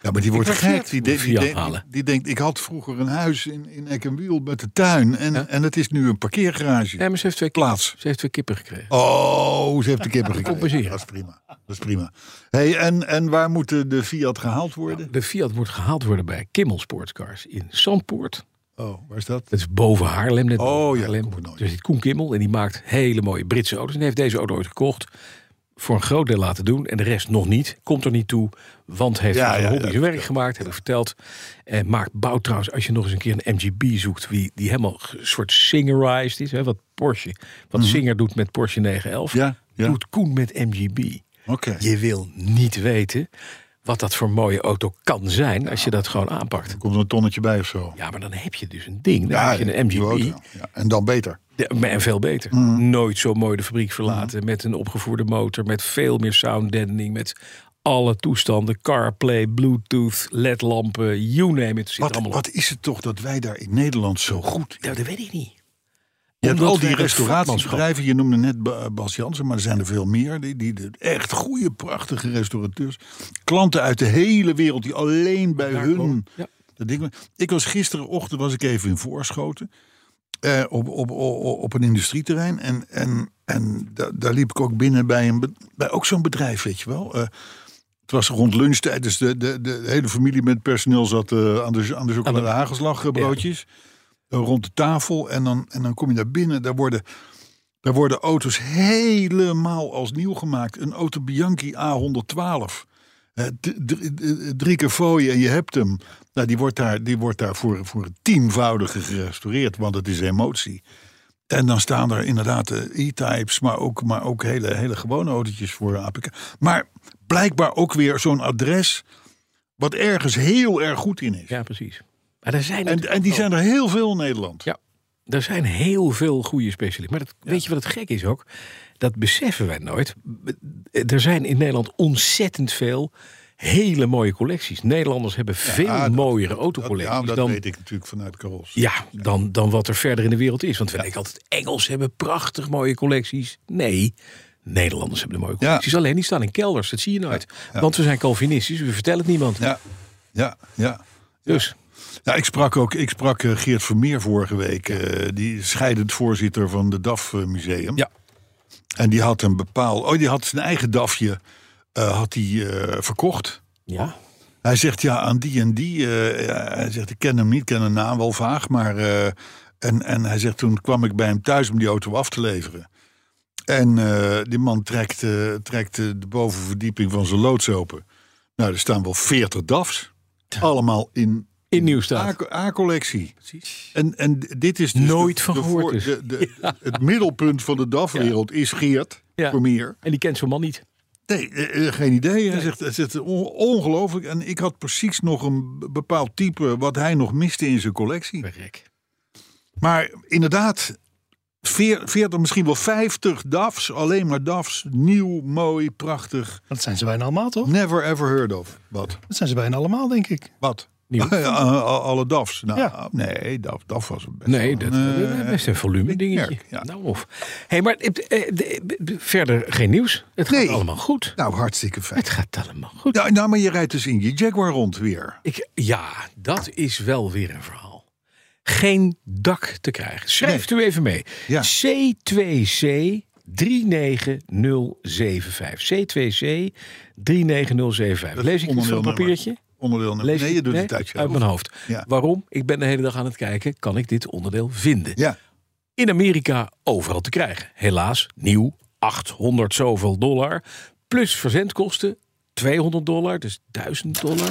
Speaker 2: Ja, maar die wordt gek. Die, die, die,
Speaker 3: Fiat
Speaker 2: die,
Speaker 3: halen.
Speaker 2: die denkt, ik had vroeger een huis in, in Eck en Wiel met de tuin. En, en het is nu een parkeergarage.
Speaker 3: Nee, maar ze heeft twee kippen,
Speaker 2: Plaats.
Speaker 3: ze heeft twee kippen gekregen.
Speaker 2: Oh, ze heeft de kippen gekregen.
Speaker 3: Compenseren.
Speaker 2: Dat is prima. Dat is prima. Hey, en, en waar moet de, de Fiat gehaald worden?
Speaker 3: De Fiat moet gehaald worden bij Kimmel Sportscars in Zandpoort.
Speaker 2: Oh, waar is dat?
Speaker 3: Dat is boven Haarlem. Net boven
Speaker 2: Oh ja,
Speaker 3: Haarlem.
Speaker 2: Koen Benoit.
Speaker 3: Er zit Koen Kimmel en die maakt hele mooie Britse auto's. En die heeft deze auto ooit gekocht. Voor een groot deel laten doen. En de rest nog niet. Komt er niet toe. Want heeft
Speaker 2: Ja,
Speaker 3: ja, zijn
Speaker 2: ja,
Speaker 3: hobby
Speaker 2: dat
Speaker 3: zijn werk gemaakt. Heb ik verteld. En maakt bouwt trouwens. Als je nog eens een keer een MGB zoekt. Die, die helemaal een soort singerized is. Hè, wat Porsche. Wat Singer doet met Porsche 911.
Speaker 2: Mhm. Ja, ja.
Speaker 3: Doet Koen met MGB.
Speaker 2: Oké.
Speaker 3: Je wil niet weten wat dat voor mooie auto kan zijn. Als je dat gewoon aanpakt.
Speaker 2: Er komt er een tonnetje bij of zo.
Speaker 3: Ja, maar dan heb je dus een ding. Dan heb je een
Speaker 2: die
Speaker 3: MGB.
Speaker 2: auto. Ja, Mm. en dan beter.
Speaker 3: Ja, maar en veel beter. Nooit zo mooi de fabriek
Speaker 2: Mm.
Speaker 3: verlaten. Met een opgevoerde motor. Met veel meer sounddeadening. Met alle toestanden. CarPlay, Bluetooth, ledlampen. You name it. Zit er
Speaker 2: Wat,
Speaker 3: allemaal
Speaker 2: wat
Speaker 3: op.
Speaker 2: is het toch dat wij daar in Nederland zo goed in
Speaker 3: Ja, dat weet ik niet.
Speaker 2: Je hebt
Speaker 3: Omdat
Speaker 2: al die
Speaker 3: wij dat
Speaker 2: restauratiebedrijven, je noemde net Ba- eh, Bas Jansen, maar er zijn er veel meer. Die, die, de echt goede, prachtige restaurateurs. Klanten uit de hele wereld die alleen bij hun.
Speaker 3: ja.
Speaker 2: Dat ding- Ik was gisterenochtend was ik even in Voorschoten. eh, op, op, op, op een industrieterrein. En, en, en da- daar liep ik ook binnen bij, een, be- bij ook zo'n bedrijf, weet je wel. Eh, het was rond lunchtijd, dus de, de, de hele familie met personeel zat eh, aan de, aan de chocolade hagelslagbroodjes eh, rond de tafel. En dan, en dan kom je daar binnen. Daar worden, daar worden auto's helemaal als nieuw gemaakt. Een auto Bianchi A112. Eh, d- d- d- drie keer fooien en je hebt hem. Nou, die wordt daar, die wordt daar voor, voor een tienvoudige gerestaureerd, want het is emotie. En dan staan er inderdaad eh, e-types, maar ook, maar ook hele, hele gewone autootjes voor een APK. Maar blijkbaar ook weer zo'n adres wat ergens heel erg goed in is.
Speaker 3: Ja, precies. Maar er zijn
Speaker 2: En, en die zijn er heel veel in Nederland.
Speaker 3: Ja, er zijn heel veel goede specialisten. Maar dat, weet je wat het gek is ook? Dat beseffen wij nooit. Er zijn in Nederland ontzettend veel hele mooie collecties. Nederlanders hebben veel
Speaker 2: dat-
Speaker 3: mooiere
Speaker 2: Dat,
Speaker 3: autocollecties
Speaker 2: ja, dat
Speaker 3: dan,
Speaker 2: weet ik natuurlijk vanuit Caros.
Speaker 3: ja, dan, dan wat er verder in de wereld is. Want we denken altijd, Engels hebben prachtig mooie collecties. Nee, Nederlanders hebben de mooie collecties. Alleen die staan in kelders, dat zie je nooit. Want we zijn Calvinistisch, we vertellen het niemand.
Speaker 2: Ja, ja, ja.
Speaker 3: Dus,
Speaker 2: Ja, ik sprak ook ik sprak eh, Geert Vermeer vorige week. eh, die is scheidend voorzitter van de DAF eh, Museum.
Speaker 3: ja.
Speaker 2: En die had een bepaald. Oh, die had zijn eigen DAFje eh, had die, eh, verkocht.
Speaker 3: Ja.
Speaker 2: Hij zegt ja aan die en die. eh, ja, hij zegt ik ken hem niet, ik ken een naam wel vaag. Maar, eh, en, en hij zegt toen kwam ik bij hem thuis om die auto af te leveren. En eh, die man trekt, eh, trekt eh, de bovenverdieping van zijn loods open. Nou, er staan wel 40 DAFs. Allemaal in
Speaker 3: In Nieuwstaat.
Speaker 2: A- A-collectie. En, en dit is dus
Speaker 3: Nooit
Speaker 2: de-
Speaker 3: van
Speaker 2: de
Speaker 3: gehoord
Speaker 2: voor-
Speaker 3: dus.
Speaker 2: de-
Speaker 3: [LAUGHS]
Speaker 2: de- Het middelpunt van de DAF-wereld is Geert
Speaker 3: Ja.
Speaker 2: Vermeer.
Speaker 3: En die kent zo'n man niet.
Speaker 2: Nee, eh, eh, geen idee. Hij zegt, hij zegt on- ongelooflijk. En ik had precies nog een b- bepaald type wat hij nog miste in zijn collectie.
Speaker 3: Verrek.
Speaker 2: Maar inderdaad, veer- 40, misschien wel 50 DAFs. Alleen maar DAFs. Nieuw, mooi, prachtig.
Speaker 4: Dat zijn ze bijna allemaal, toch?
Speaker 2: Never ever heard of. Wat?
Speaker 4: Dat zijn ze bijna allemaal, denk ik.
Speaker 2: Wat?
Speaker 3: Nieuw.
Speaker 2: [LAUGHS] Ja, a- a- Alle DAFs. Nou,
Speaker 4: Ja.
Speaker 2: Nee, DAF, DAF was het best.
Speaker 3: Nee,
Speaker 2: wel
Speaker 3: dat
Speaker 2: een, eh,
Speaker 3: eh, best een volume dingetje.
Speaker 2: merk, ja.
Speaker 3: Nou of. hey, maar eh, eh, de- eh, verder geen nieuws. Het gaat
Speaker 2: Nee.
Speaker 3: allemaal goed.
Speaker 2: Nou, hartstikke fijn.
Speaker 3: Het gaat allemaal goed.
Speaker 2: Nou, nou, maar je rijdt dus in je Jaguar rond weer.
Speaker 3: Ik, ja, dat is wel weer een verhaal. Geen dak te krijgen. Schrijf u even mee.
Speaker 2: Ja.
Speaker 3: C2C 39075. C2C 39075.
Speaker 2: Dat
Speaker 3: Lees ik
Speaker 2: onderdeel
Speaker 3: niet van een
Speaker 2: nummer.
Speaker 3: papiertje?
Speaker 2: Onderdeel nummer.
Speaker 3: Lees
Speaker 2: nee,
Speaker 3: ik-
Speaker 2: je doet
Speaker 3: nee?
Speaker 2: het uit je
Speaker 3: uit mijn
Speaker 2: hoofd.
Speaker 3: hoofd.
Speaker 2: Ja.
Speaker 3: Waarom? Ik ben de hele dag aan het kijken. Kan ik dit onderdeel vinden?
Speaker 2: Ja,
Speaker 3: in Amerika overal te krijgen. Helaas, nieuw, 800 zoveel dollar. Plus verzendkosten, 200 dollar, dus 1000 dollar.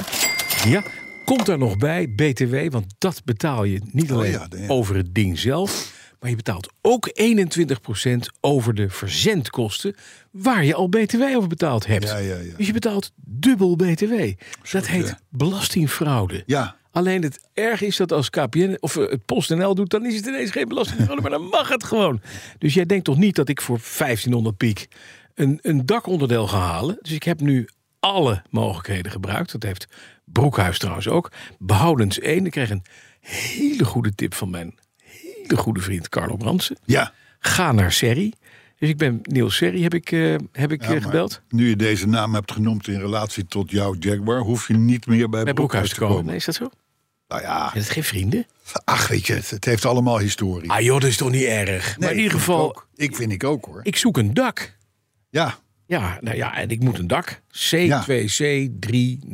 Speaker 3: Ja, komt daar nog bij, BTW, want dat betaal je niet alleen
Speaker 2: Oh ja, de- ja.
Speaker 3: over het ding zelf... maar je betaalt ook 21% over de verzendkosten... waar je al BTW over betaald hebt.
Speaker 2: Ja, ja, ja.
Speaker 3: Dus je betaalt dubbel BTW. dat heet
Speaker 2: ja.
Speaker 3: belastingfraude.
Speaker 2: ja.
Speaker 3: Alleen het erg is dat als KPN of eh, het PostNL doet, dan is het ineens geen belastingfraude, maar dan mag het gewoon. Dus jij denkt toch niet dat ik voor 1500 piek een, een dakonderdeel ga halen? Dus ik heb nu alle mogelijkheden gebruikt. Dat heeft Broekhuis trouwens ook. Behoudens één. Ik kreeg een hele goede tip van mijn hele goede vriend Carlo Brandsen.
Speaker 2: ja.
Speaker 3: Ga naar Serri. Dus ik ben Niels Serri, heb ik, eh, heb ik eh,
Speaker 2: Ja, maar
Speaker 3: gebeld.
Speaker 2: Nu je deze naam hebt genoemd in relatie tot jouw Jaguar, hoef je niet meer bij,
Speaker 3: Bij Broekhuis te komen. Nee, is dat zo?
Speaker 2: Nou ja,
Speaker 3: Zijn het geen vrienden?
Speaker 2: ach weet je, het, het heeft allemaal historie.
Speaker 3: Ah joh, dat is toch niet erg? maar in
Speaker 2: Nee,
Speaker 3: ieder
Speaker 2: vind
Speaker 3: geval,
Speaker 2: ik, ook. ik vind ik ook hoor.
Speaker 3: ik zoek een dak.
Speaker 2: Ja,
Speaker 3: Ja, nou ja, en ik moet een dak.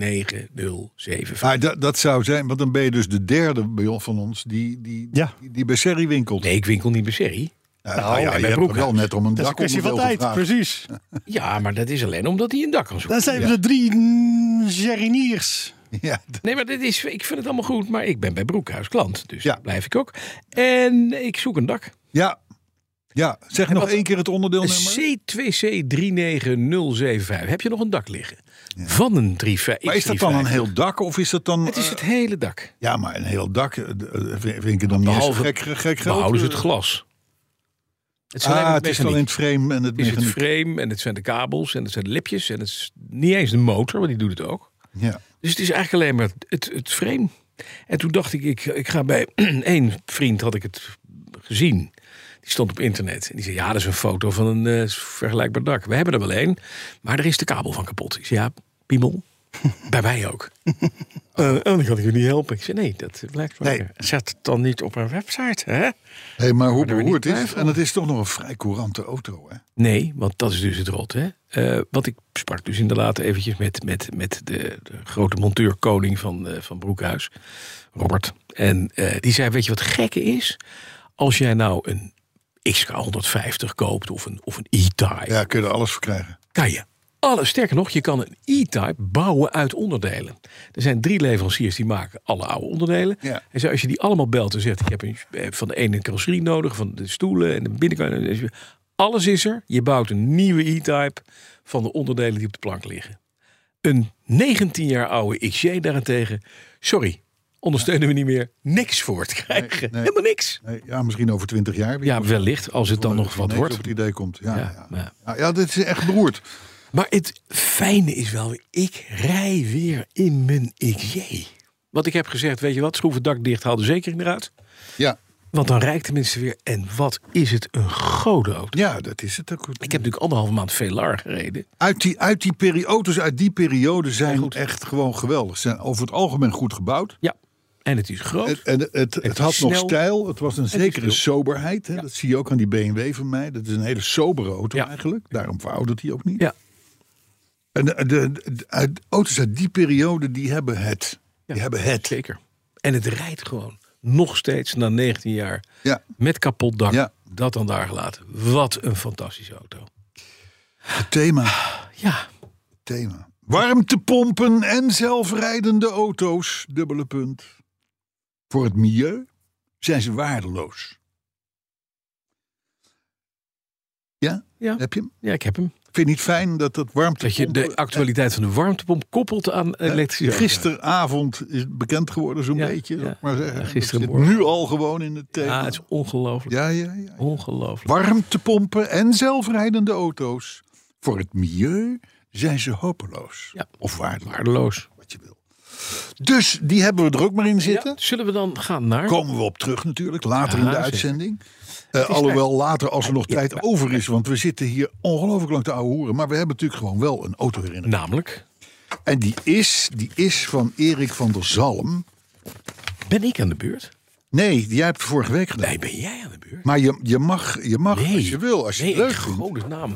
Speaker 3: C2C39075.
Speaker 2: maar dat, dat zou zijn, want dan ben je dus de derde bij ons- van ons die, die,
Speaker 4: Ja.
Speaker 2: die, die bij Serri winkelt.
Speaker 3: Nee, ik winkel niet bij serie.
Speaker 2: Nou, nou ja, je hebt
Speaker 3: Broekhuis.
Speaker 2: er wel net om een
Speaker 4: Dat is een
Speaker 2: dak
Speaker 4: kwestie van tijd, precies.
Speaker 3: Ja, maar dat is alleen omdat hij een dak kan zoeken.
Speaker 4: Daar zijn we de drie mm, Geriniers.
Speaker 2: Ja, d-
Speaker 3: Nee, maar dit is, ik vind het allemaal goed, maar ik ben bij Broekhuis klant. Dus
Speaker 2: Ja.
Speaker 3: daar blijf ik ook. En ik zoek een dak.
Speaker 2: ja. ja. zeg nog
Speaker 3: wat- Eh,
Speaker 2: één keer het onderdeelnummer.
Speaker 3: C2C39075. Heb je nog een dak liggen? Van een 35.
Speaker 2: Maar is dat dan een heel dak of is dat dan...
Speaker 3: Het is
Speaker 2: eh,
Speaker 3: het hele dak.
Speaker 2: ja, maar een heel dak eh, d- eh, vind vind ik dan niet eens
Speaker 3: Behalve-
Speaker 2: gek, gek geld.
Speaker 3: Behouden ze het
Speaker 2: eh.
Speaker 3: glas. Het is alleen
Speaker 2: Ah,
Speaker 3: maar
Speaker 2: het is
Speaker 3: mechaniek.
Speaker 2: alleen het frame en het
Speaker 3: Het is het
Speaker 2: mechaniek.
Speaker 3: frame en het zijn de kabels en het zijn de lipjes en het is niet eens de motor, maar die doet het ook.
Speaker 2: Ja.
Speaker 3: Dus het is eigenlijk alleen maar het, het frame. En toen dacht ik, ik, ik ga bij [CLEARS THROAT] één vriend, had ik het gezien. Die stond op internet en die zei, ja, dat is een foto van een eh, vergelijkbaar dak. We hebben er wel één, maar er is de kabel van kapot. Ik zei, ja, piemel, [LAUGHS] bij mij ook. Eh, en dan kan ik u niet helpen. Ik zei, nee, dat blijkt wel.
Speaker 2: Nee.
Speaker 3: Zet het dan niet op een website, hè?
Speaker 2: Hé, maar hoe
Speaker 3: er
Speaker 2: beroerd
Speaker 3: niet
Speaker 2: is het?
Speaker 3: blijven.
Speaker 2: En het is toch nog een vrij courante auto, hè?
Speaker 3: Nee, want dat is dus het rot. Hè? Eh, want ik sprak dus inderdaad eventjes met, met, met de, de grote monteurkoning van, eh, van Broekhuis, Robert. En eh, die zei, weet je wat gekke is? Als jij nou een XK150 koopt of een, of een E-Type,
Speaker 2: Ja, kun je er alles voor krijgen.
Speaker 3: kan je alle, sterker nog, je kan een E-Type bouwen uit onderdelen. Er zijn drie leveranciers die maken alle oude onderdelen.
Speaker 2: Ja.
Speaker 3: En zo, als je die allemaal belt en zegt: Ik heb een, eh, van de ene een carrosserie nodig, van de stoelen en de binnenkant. en- Alles is er. Je bouwt een nieuwe E-Type van de onderdelen die op de plank liggen. Een 19 jaar oude XJ daarentegen, sorry, ondersteunen we niet meer. Niks voor te krijgen.
Speaker 2: nee.
Speaker 3: Helemaal niks.
Speaker 2: Nee, ja, misschien over twintig jaar. weer.
Speaker 3: Ja, wellicht, als het dan
Speaker 2: Dat
Speaker 3: nog wat
Speaker 2: ineens
Speaker 3: wordt.
Speaker 2: Op het idee komt. Ja,
Speaker 3: Ja,
Speaker 2: ja.
Speaker 3: ja.
Speaker 2: Ja. ja, dit is echt beroerd.
Speaker 3: Maar het fijne is wel, weer, ik rij weer in mijn XJ. Want ik heb gezegd, weet je wat, schroef het dak dicht, haal de zekering eruit.
Speaker 2: Ja,
Speaker 3: Want dan rijkt tenminste weer. En wat is het een gode auto.
Speaker 2: ja dat is het ook.
Speaker 3: Ik heb natuurlijk anderhalve maand VLAR gereden.
Speaker 2: Uit die, uit die peri- auto's uit die periode zijn echt gewoon geweldig. Ze zijn over het algemeen goed gebouwd.
Speaker 3: Ja. En het is groot.
Speaker 2: Het, en het, het,
Speaker 3: is
Speaker 2: had nog
Speaker 3: snel.
Speaker 2: stijl. Het was een zekere
Speaker 3: is
Speaker 2: soberheid. Hè? Dat zie je ook aan die BMW van mij. Dat is een hele sobere auto
Speaker 3: Ja.
Speaker 2: eigenlijk. Daarom veroudert hij ook niet.
Speaker 3: ja.
Speaker 2: En de, de- de- uit- auto's uit die periode, die hebben het. Die hebben het.
Speaker 3: Zeker. En het rijdt gewoon nog steeds na 19 jaar.
Speaker 2: Ja,
Speaker 3: Met kapot dak.
Speaker 2: Ja.
Speaker 3: Dat dan daar gelaten. Wat een fantastische auto.
Speaker 2: het thema.
Speaker 3: Ja.
Speaker 2: thema. Warmtepompen en zelfrijdende auto's, dubbele punt. Voor het milieu zijn ze waardeloos. Ja?
Speaker 3: Ja.
Speaker 2: Heb je hem?
Speaker 3: ja, ik heb hem.
Speaker 2: Vind je niet fijn dat dat
Speaker 3: Dat je
Speaker 2: warmtepompen...
Speaker 3: de actualiteit van de warmtepomp koppelt aan elektrische auto's.
Speaker 2: Gisteravond is bekend geworden zo'n
Speaker 3: Ja,
Speaker 2: beetje. zal
Speaker 3: ja.
Speaker 2: ik maar zeggen.
Speaker 3: Ja,
Speaker 2: Dat
Speaker 3: gisterenmorgen.
Speaker 2: zit nu al gewoon in het thema.
Speaker 3: Ja, het is ongelooflijk.
Speaker 2: ja, ja, ja.
Speaker 3: Ongelooflijk.
Speaker 2: Warmtepompen en zelfrijdende auto's. Voor het milieu zijn ze hopeloos.
Speaker 3: Ja.
Speaker 2: Of waardeloos,
Speaker 3: Waardeloos.
Speaker 2: wat je wil. Dus die hebben we er ook maar in zitten.
Speaker 3: Ja, zullen we dan gaan naar...
Speaker 2: Komen we op terug natuurlijk, later
Speaker 3: Ja,
Speaker 2: in de
Speaker 3: zeker.
Speaker 2: uitzending. Eh, alhoewel later, als er nog tijd over is. Want we zitten hier ongelooflijk lang te ouwe hoeren. Maar we hebben natuurlijk gewoon wel een auto herinnerd.
Speaker 3: Namelijk,
Speaker 2: En die is, die is van Erik van der Zalm.
Speaker 3: ben ik aan de beurt?
Speaker 2: Nee, die jij hebt het vorige week gedaan.
Speaker 3: Nee, ben jij aan de beurt?
Speaker 2: Maar je, je mag, je mag
Speaker 3: Nee.
Speaker 2: als je wil, als je
Speaker 3: nee,
Speaker 2: het leuk
Speaker 3: ik
Speaker 2: vindt.
Speaker 3: gewoon de naam.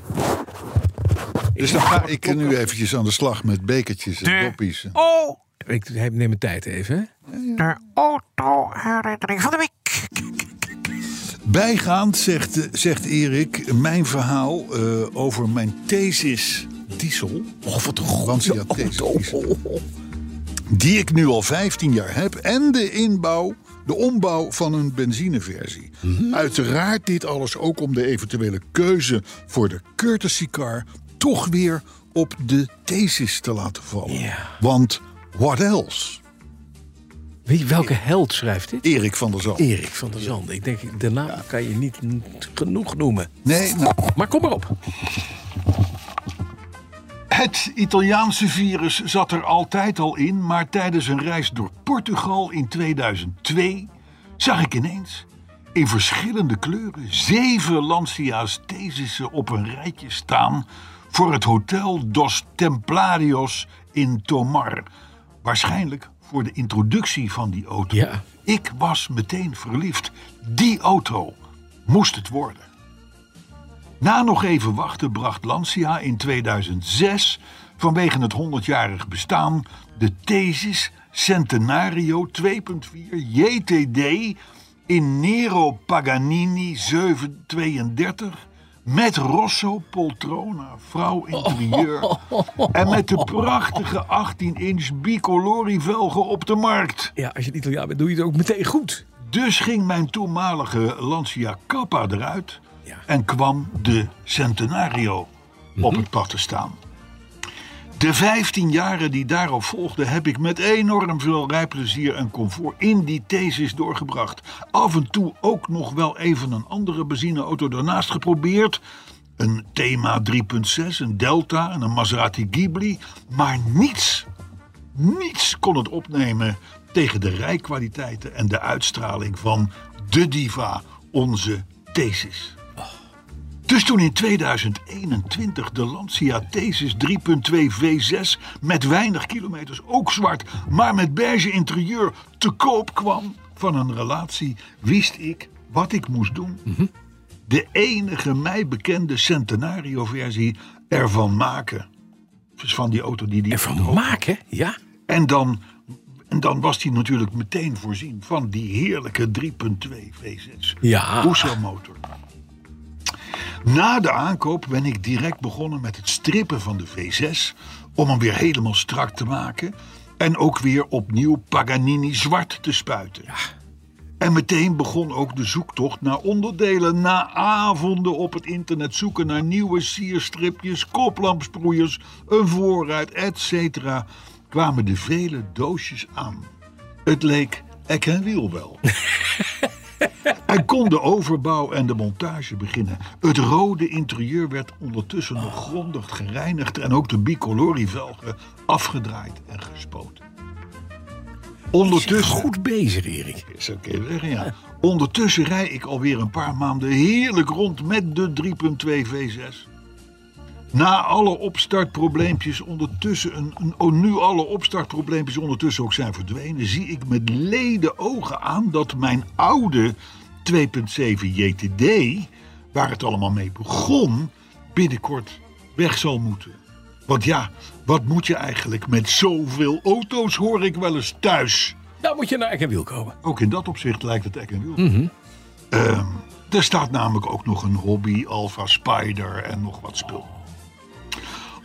Speaker 2: Dus dan ga ik nu eventjes aan de slag met bekertjes en doppies. en-
Speaker 3: Oh! Ik neem mijn tijd even. hè.
Speaker 5: de autoherinnering van de week.
Speaker 2: Bijgaand zegt, eh, zegt Erik mijn verhaal eh, over mijn thesis diesel. Oh, wat een goede
Speaker 3: oh,
Speaker 2: Die ik nu al 15 jaar heb. En de inbouw, de ombouw van een benzineversie.
Speaker 3: Mhm.
Speaker 2: Uiteraard dit alles ook om de eventuele keuze voor de courtesy car... toch weer op de thesis te laten vallen.
Speaker 3: Ja.
Speaker 2: Want what else?
Speaker 3: Wie, welke held schrijft dit?
Speaker 2: Erik van der Zalm.
Speaker 3: Erik van der Zand. Ik denk, de naam kan je niet n- genoeg noemen.
Speaker 2: Nee, nou,
Speaker 3: Maar kom maar op.
Speaker 2: Het Italiaanse virus zat er altijd al in, maar tijdens een reis door Portugal in 2002 zag ik ineens in verschillende kleuren zeven Lancia's thesissen op een rijtje staan voor het Hotel dos Templarios in Tomar. Waarschijnlijk voor de introductie van die auto.
Speaker 3: Ja.
Speaker 2: Ik was meteen verliefd. Die auto moest het worden. Na nog even wachten bracht Lancia in 2006 vanwege het 100-jarig bestaan de Thesis Centenario 2.4 JTD in Nero Paganini 732 met Rosso Poltrona, vrouw interieur en met de prachtige 18-inch bicolori velgen op de markt.
Speaker 3: Ja, als je een Italiaan bent, doe je het ook meteen goed.
Speaker 2: Dus ging mijn toenmalige Lancia Kappa eruit
Speaker 3: Ja.
Speaker 2: en kwam de Centenario op het pad te staan. De 15 jaren die daarop volgden heb ik met enorm veel rijplezier en comfort in die thesis doorgebracht. Af en toe ook nog wel even een andere benzineauto daarnaast geprobeerd. Een Thema 3.6, een Delta en een Maserati Ghibli. Maar niets niets kon het opnemen tegen de rijkwaliteiten en de uitstraling van de diva, onze thesis. Dus toen in 2021 de Lancia Thesis 3.2 V6 met weinig kilometers, ook zwart, maar met beige interieur te koop kwam van een relatie, wist ik wat ik moest doen. De enige mij bekende Centenario-versie ervan maken. Dus van die auto die die
Speaker 3: Ervan maken, ja?
Speaker 2: en dan, en dan was hij natuurlijk meteen voorzien van die heerlijke 3.2 V6
Speaker 3: Ja.
Speaker 2: Hoezo motor. Na de aankoop ben ik direct begonnen met het strippen van de V6 om hem weer helemaal strak te maken en ook weer opnieuw Paganini zwart te spuiten. En meteen begon ook de zoektocht naar onderdelen. Na avonden op het internet zoeken naar nieuwe sierstripjes, koplampsproeiers, een voorraad, etc. kwamen de vele doosjes aan. Het leek ek en wiel wel. en kon de overbouw en de montage beginnen. Het rode interieur werd ondertussen nog grondig gereinigd en ook de bicolorievelgen afgedraaid en gespoten. Ondertussen
Speaker 3: Goed bezig, Erik.
Speaker 2: is oké zeggen, ja. Ondertussen rij ik alweer een paar maanden heerlijk rond met de 3.2 V6. Na alle opstartprobleempjes ondertussen, een, een, oh, nu alle opstartprobleempjes ondertussen ook zijn verdwenen, zie ik met leden ogen aan dat mijn oude 2.7 JTD, waar het allemaal mee begon, binnenkort weg zal moeten. Want ja, wat moet je eigenlijk met zoveel auto's, hoor ik wel eens thuis.
Speaker 3: Nou moet je naar Eck en Wiel komen.
Speaker 2: Ook in dat opzicht lijkt het Eck en Wiel. Ehm, er staat namelijk ook nog een hobby, Alpha Spider en nog wat spul.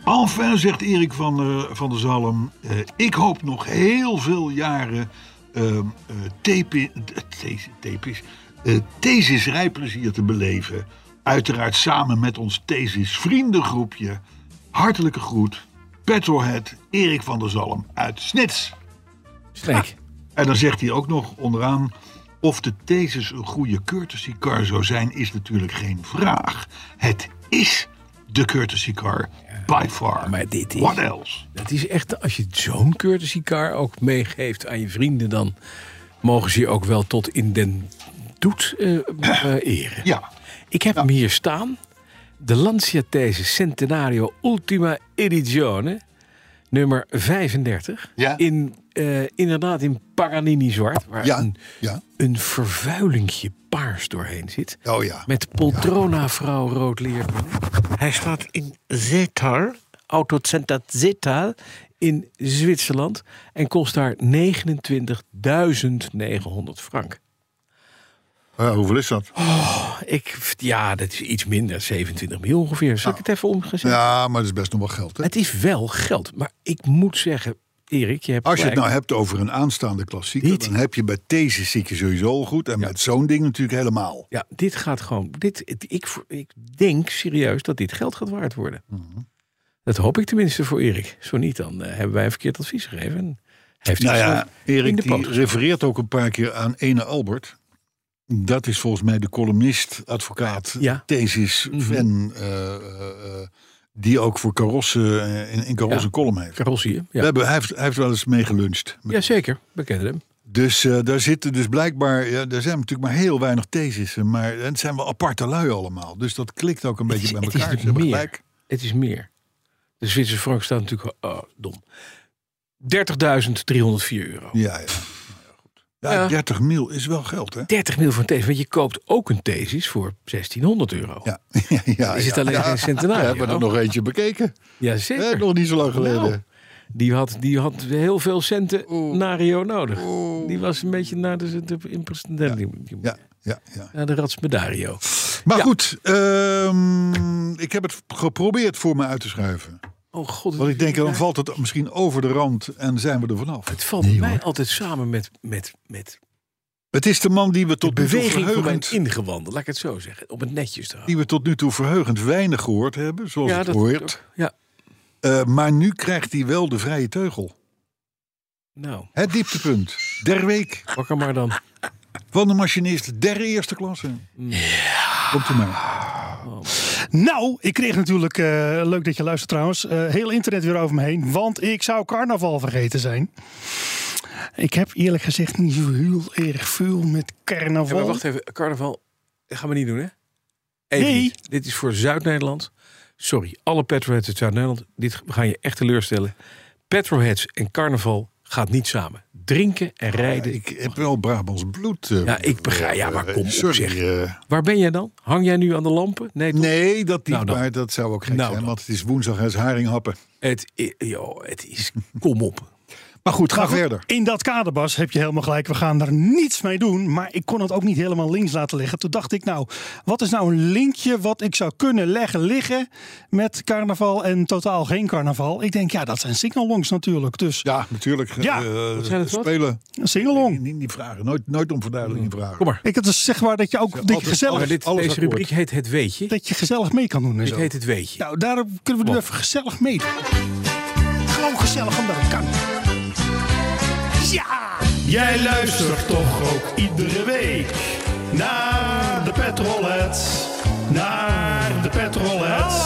Speaker 2: Enfin, zegt Erik van, eh, van der Zalm, eh, ik hoop nog heel veel jaren ehm eh, tepi- the- tepis, eh, thesis rijplezier te beleven. Uiteraard samen met ons thesis vriendengroepje. Hartelijke groet, Petrolhead, Erik van der Zalm uit Snits.
Speaker 3: Streek.
Speaker 2: En dan zegt hij ook nog onderaan. Of de thesis een goede courtesy car zou zijn, is natuurlijk geen vraag. Het is de courtesy car, by far.
Speaker 3: maar dit is-
Speaker 2: What else?
Speaker 3: Dat is echt, als je zo'n courtesy car ook meegeeft aan je vrienden, dan mogen ze je ook wel tot in den doet eh, eh, eren.
Speaker 2: Ja,
Speaker 3: Ik heb hem hier staan. De Lancia These Centenario Ultima Edizione, nummer 35.
Speaker 2: Ja.
Speaker 3: In, eh, inderdaad in Paganini zwart, waar
Speaker 2: ja,
Speaker 3: een,
Speaker 2: ja.
Speaker 3: een vervuilingje paars doorheen zit.
Speaker 2: Oh ja.
Speaker 3: Met Poltrona-vrouw rood leer. Hij staat in Zetal, Autocenta Zetal in Zwitserland. En kost daar 29.900 frank.
Speaker 2: Ja, Eh, hoeveel is dat?
Speaker 3: Ik, ja, dat is iets minder, 27 mil ongeveer. Zal ik het even omgezet?
Speaker 2: Ja, maar dat is best nog wel geld. Hè?
Speaker 3: Het is wel geld, maar ik moet zeggen, Erik, je hebt
Speaker 2: Als je het
Speaker 3: gelijk.
Speaker 2: nou hebt over een aanstaande klassieker,
Speaker 3: Niet.
Speaker 2: dan heb je bij thesis zie ik je sowieso al goed. En met zo'n ding natuurlijk helemaal.
Speaker 3: Ja, dit gaat gewoon. Dit, het- ik, v- ik denk serieus dat dit geld gaat waard worden.
Speaker 2: Mhm.
Speaker 3: Dat hoop ik tenminste voor Erik. Zo niet, dan eh, hebben wij een verkeerd advies gegeven. En heeft hij
Speaker 2: Nou ja,
Speaker 3: zichzelf in
Speaker 2: Erik
Speaker 3: de
Speaker 2: die
Speaker 3: poot gezet.
Speaker 2: refereert ook een paar keer aan Ene Albert. Dat is volgens mij de columnist, advocaat,
Speaker 3: Ja.
Speaker 2: thesis,
Speaker 3: Mhm.
Speaker 2: fan, eh, eh, eh, die ook voor karossen eh, in, in karossen
Speaker 3: Ja.
Speaker 2: column heeft.
Speaker 3: Carrossier,
Speaker 2: We
Speaker 3: ja.
Speaker 2: hebben, hij, heeft, hij heeft wel eens mee geluncht.
Speaker 3: Jazeker, we kennen hem.
Speaker 2: Dus eh, daar zitten dus blijkbaar, ja, er zijn natuurlijk maar heel weinig thesissen, maar het zijn wel aparte lui allemaal. Dus dat klikt ook een beetje bij
Speaker 3: het
Speaker 2: elkaar. Ze
Speaker 3: is
Speaker 2: hebben
Speaker 3: meer.
Speaker 2: gelijk.
Speaker 3: Het is meer. De Zwitserse frank staat natuurlijk oh, dom. 30.304 euro.
Speaker 2: Ja, ja. Ja,
Speaker 3: Ja.
Speaker 2: 30 mil is wel geld, hè?
Speaker 3: 30 mil voor een thesis, want je koopt ook een thesis voor 1600 euro. [LAUGHS]
Speaker 2: Ja, ja, ja.
Speaker 3: Is het alleen geen centenario?
Speaker 2: We hebben er nog eentje bekeken.
Speaker 3: Jazeker.
Speaker 2: Hè, nog niet zo lang geleden.
Speaker 3: Nou, die, had, die had heel veel centen Nario nodig. Die was een beetje naar de, de, de,
Speaker 2: Ja, ja, ja.
Speaker 3: naar de Ratsmedario.
Speaker 2: Maar
Speaker 3: Ja.
Speaker 2: goed, ehm, ik heb het geprobeerd voor me uit te schuiven.
Speaker 3: Oh god,
Speaker 2: Want ik denk, dan valt het misschien over de rand en zijn we er vanaf.
Speaker 3: het valt mij altijd samen met, met, met
Speaker 2: Het is de man die we
Speaker 3: de
Speaker 2: tot nu toe
Speaker 3: beweging van mijn
Speaker 2: verheugend,
Speaker 3: ingewanden. Laat ik het zo zeggen, om het netjes te houden.
Speaker 2: die we tot nu toe verheugend weinig gehoord hebben, zoals het hoort.
Speaker 3: ook. Ja,
Speaker 2: Eh, maar nu krijgt hij wel de vrije teugel.
Speaker 3: nou,
Speaker 2: Het dieptepunt der week
Speaker 3: wakker maar dan.
Speaker 2: van de machinist der eerste klasse. Komt u maar.
Speaker 4: Nou, ik kreeg natuurlijk, eh, leuk dat je luistert trouwens, eh, heel internet weer over me heen. Want ik zou carnaval vergeten zijn. Ik heb eerlijk gezegd niet zo heel erg veel met
Speaker 3: Ja,
Speaker 4: carnaval.
Speaker 3: maar wacht even, carnaval dat gaan we niet doen, hè? Even
Speaker 4: Nee.
Speaker 3: niet. Dit is voor Zuid-Nederland. Sorry, alle petrolheads uit Zuid-Nederland. Dit we gaan je echt teleurstellen. Petrolheads en carnaval gaat niet samen. Drinken en rijden.
Speaker 2: Ik heb wel Brabants bloed. eh,
Speaker 3: Ja, ik begrijp. Ja, maar
Speaker 2: eh,
Speaker 3: kom op,
Speaker 2: sorry,
Speaker 3: zeg.
Speaker 2: eh.
Speaker 3: Waar ben jij dan? Hang jij nu aan de lampen? Nee, toch?
Speaker 2: Nee, dat niet,
Speaker 3: Nou dan.
Speaker 2: maar dat zou ook gek
Speaker 3: Nou
Speaker 2: zijn,
Speaker 3: dan.
Speaker 2: want het is woensdag en het is haringhappen.
Speaker 3: Het, i- joh, het is... Kom op.
Speaker 2: Maar goed, ga
Speaker 4: Maar goed,
Speaker 2: verder.
Speaker 4: In dat kader, Bas, heb je helemaal gelijk. We gaan er niets mee doen. Maar ik kon het ook niet helemaal links laten liggen. Toen dacht ik, nou, wat is nou een linkje wat ik zou kunnen leggen liggen met carnaval en totaal geen carnaval? Ik denk, ja, dat zijn signalongs natuurlijk. Dus
Speaker 2: Ja, natuurlijk.
Speaker 4: Ja,
Speaker 2: eh,
Speaker 3: wat zijn het, wat?
Speaker 2: spelen.
Speaker 4: een singalong.
Speaker 2: Niet, niet vragen. Nooit, nooit om verduidelijking vragen.
Speaker 3: Kom maar.
Speaker 4: Ik het is zeg maar dat je ook dat je
Speaker 2: altijd-
Speaker 3: Maar
Speaker 4: gezellig,
Speaker 3: dit,
Speaker 2: alles
Speaker 3: deze
Speaker 2: akkoord.
Speaker 3: rubriek heet Het Weetje.
Speaker 4: dat je gezellig mee kan doen en
Speaker 3: Dit
Speaker 4: zo.
Speaker 3: heet Het Weetje.
Speaker 4: Nou, daar kunnen we nu even gezellig mee doen. Gewoon gezellig omdat het kan. Ja! Jij luistert toch ook iedere week naar de petrolheads. Naar de petrolheads.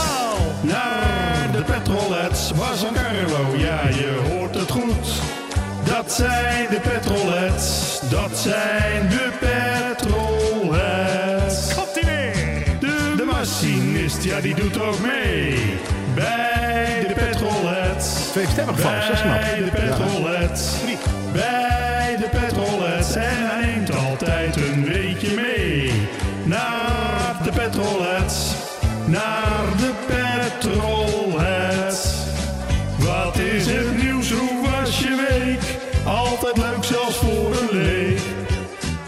Speaker 4: Naar de petrolheads. Was een Carlo, ja je hoort het goed. Dat zijn de petrolheads. Dat zijn de petrolheads. Komt ie weer! De, de machinist, ja die doet ook mee. Bij de petrolheads.
Speaker 3: Tweestemmig vals, dat is knap.
Speaker 4: Bij de petrolheads. Bij de petrolheads. En hij neemt altijd een weekje mee. Naar de petrolheads. Naar de petrolheads. Wat is het nieuws? Hoe was je week? Altijd leuk, zelfs voor een leek.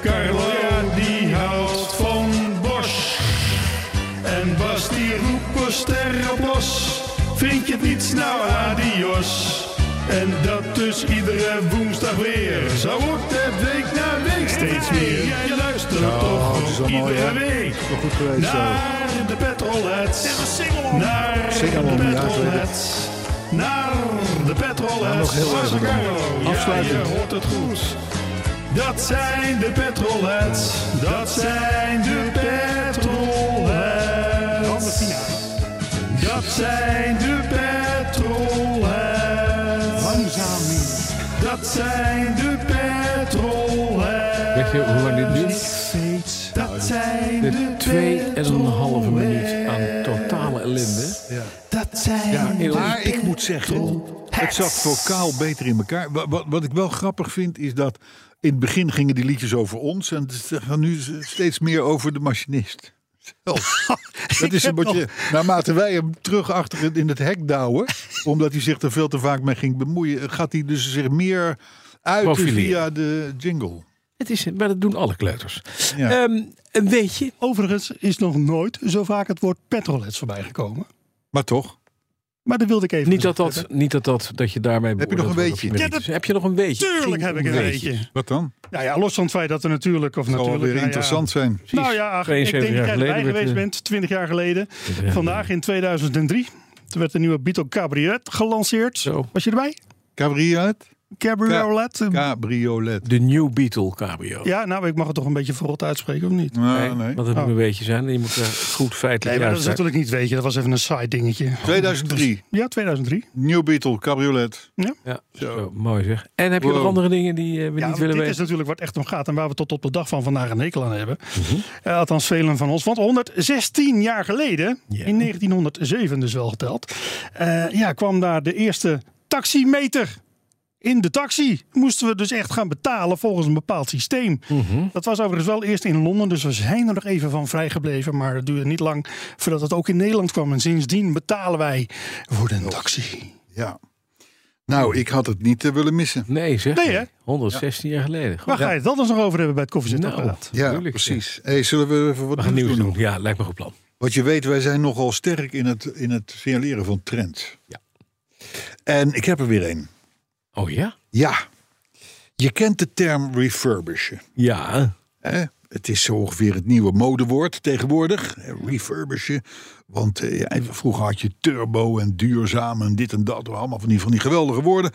Speaker 4: Carlo, ja, die houdt van Bosch. En Bas die roept voor sterren op los. Vind je het niets? Nou, adios. En dat dus iedere woensdag weer. Zo wordt het week na week steeds meer. Je luistert
Speaker 2: het is
Speaker 4: toch
Speaker 2: wel mooi,
Speaker 4: iedere
Speaker 2: hè?
Speaker 4: week.
Speaker 2: Wel goed geweest zo.
Speaker 4: Naar de petrolheads. Naar
Speaker 2: Singalong,
Speaker 4: de
Speaker 2: ja,
Speaker 4: petrolheads. Naar de petrolheads.
Speaker 2: Nou, nog heel
Speaker 4: Bas
Speaker 2: even
Speaker 4: en
Speaker 2: dan.
Speaker 4: Carlo. Ja,
Speaker 2: Afsluitend.
Speaker 4: je hoort het goed. Dat zijn de petrolheads. Dat zijn de petrolheads. Dat zijn de petrolheads. Langzaam. Dat zijn de
Speaker 3: Weet
Speaker 4: petrolheads.
Speaker 3: je hoe lang dit duurt?
Speaker 4: Dat zijn
Speaker 3: De twee en een halve minuut aan totale ellende.
Speaker 4: Dat zijn ja,
Speaker 3: Heel-
Speaker 2: Maar ik moet zeggen, het zat vocaal beter in elkaar. Wa- wa- Wat, ik wel grappig vind, is dat in het begin gingen die liedjes over ons. En ze gaan nu s- steeds meer over de machinist. [LAUGHS] Zelf. Dat is een beetje, naarmate wij hem terug achter het- in het hek douwen, omdat hij zich er veel te vaak mee ging bemoeien, gaat hij dus zich meer uit dus
Speaker 3: Profileren.
Speaker 2: via de jingle.
Speaker 3: Het is, maar dat doen alle kleuters.
Speaker 2: Ja.
Speaker 3: Ehm, een weetje.
Speaker 4: Overigens is nog nooit zo vaak het woord petrolheads voorbij gekomen.
Speaker 2: Maar toch,
Speaker 4: Maar dat wilde ik even.
Speaker 3: Niet dat, dat, niet dat, dat, dat je daarmee.
Speaker 2: Heb je nog een
Speaker 3: beoordeeld wordt
Speaker 2: weetje?
Speaker 3: of je
Speaker 4: Ja,
Speaker 3: niet
Speaker 4: dat-
Speaker 3: is. heb je nog een weetje?
Speaker 4: Tuurlijk
Speaker 3: Misschien
Speaker 4: heb ik een beetje.
Speaker 2: wat dan?
Speaker 4: Nou ja, los van het feit dat er natuurlijk. Of
Speaker 2: Zal wel
Speaker 4: natuurlijk
Speaker 2: weer
Speaker 4: nou
Speaker 2: Oh,
Speaker 4: ja.
Speaker 2: interessant zijn.
Speaker 4: Nou ja, ach, ik
Speaker 3: 72
Speaker 4: denk
Speaker 3: jaar
Speaker 4: dat jij erbij
Speaker 3: geleden werd,
Speaker 4: geweest
Speaker 3: eh,
Speaker 4: bent, 20 jaar geleden.
Speaker 3: jaar
Speaker 4: Vandaag in 2003. Toen werd de nieuwe Beetle Cabriolet gelanceerd.
Speaker 3: Zo.
Speaker 4: Was je erbij?
Speaker 2: Cabriolet?
Speaker 4: Cabriolet. eh,
Speaker 2: Cabriolet.
Speaker 3: De New Beetle Cabrio.
Speaker 4: Ja, nou, ik mag het toch een beetje verrot uitspreken, of niet?
Speaker 2: Nee, nee.
Speaker 3: Want dat moet een weetje zijn. Je moet daar goed feitelijk
Speaker 4: Oh. Nee, maar dat is
Speaker 3: uitstaken.
Speaker 4: natuurlijk niet, weet je. Dat was even een side dingetje.
Speaker 2: 2003,
Speaker 4: Ja, 2003.
Speaker 2: New Beetle, Cabriolet.
Speaker 3: Ja,
Speaker 2: Zo.
Speaker 3: zo, mooi zeg. En heb je nog
Speaker 2: Wow.
Speaker 3: andere dingen die eh, we
Speaker 4: Ja,
Speaker 3: niet
Speaker 4: want
Speaker 3: willen
Speaker 4: dit is
Speaker 3: weten?
Speaker 4: natuurlijk wat echt om gaat en waar we tot op de dag van vandaag een hekel aan hebben.
Speaker 3: Mhm.
Speaker 4: Eh, althans, velen van ons. Want 116 jaar geleden,
Speaker 3: Ja.
Speaker 4: in 1907 dus wel geteld, eh, ja, kwam daar de eerste taximeter. In de taxi moesten we dus echt gaan betalen volgens een bepaald systeem.
Speaker 3: Mhm.
Speaker 4: Dat was overigens wel eerst in Londen, dus we zijn er nog even van vrijgebleven. Maar het duurde niet lang voordat het ook in Nederland kwam. En sindsdien betalen wij voor
Speaker 3: Oh.
Speaker 4: een taxi.
Speaker 2: Ja. Nou, ik had het niet eh, willen missen.
Speaker 3: Nee, zeg.
Speaker 4: Nee,
Speaker 3: niet.
Speaker 4: hè?
Speaker 3: 116 jaar geleden. Goed.
Speaker 4: Waar ga je het anders nog over hebben bij het
Speaker 3: Nou,
Speaker 4: koffiezetapparaat?
Speaker 2: Ja,
Speaker 3: tuurlijk,
Speaker 2: precies. Hey, zullen we even
Speaker 3: We
Speaker 2: wat
Speaker 3: gaan
Speaker 2: nieuws
Speaker 3: nieuws
Speaker 2: doen?
Speaker 3: doen. Ja, lijkt me goed plan.
Speaker 2: Want je weet, wij zijn nogal sterk in het, in het signaleren van trends.
Speaker 3: Ja.
Speaker 2: En ik heb er weer een.
Speaker 3: Oh ja?
Speaker 2: Ja. Je kent de term refurbishen.
Speaker 3: Ja.
Speaker 2: Hè? Het is zo ongeveer het nieuwe modewoord tegenwoordig. eh, Refurbishen. Want eh, ja, vroeger had je turbo en duurzaam en dit en dat. Allemaal van die, van die geweldige woorden.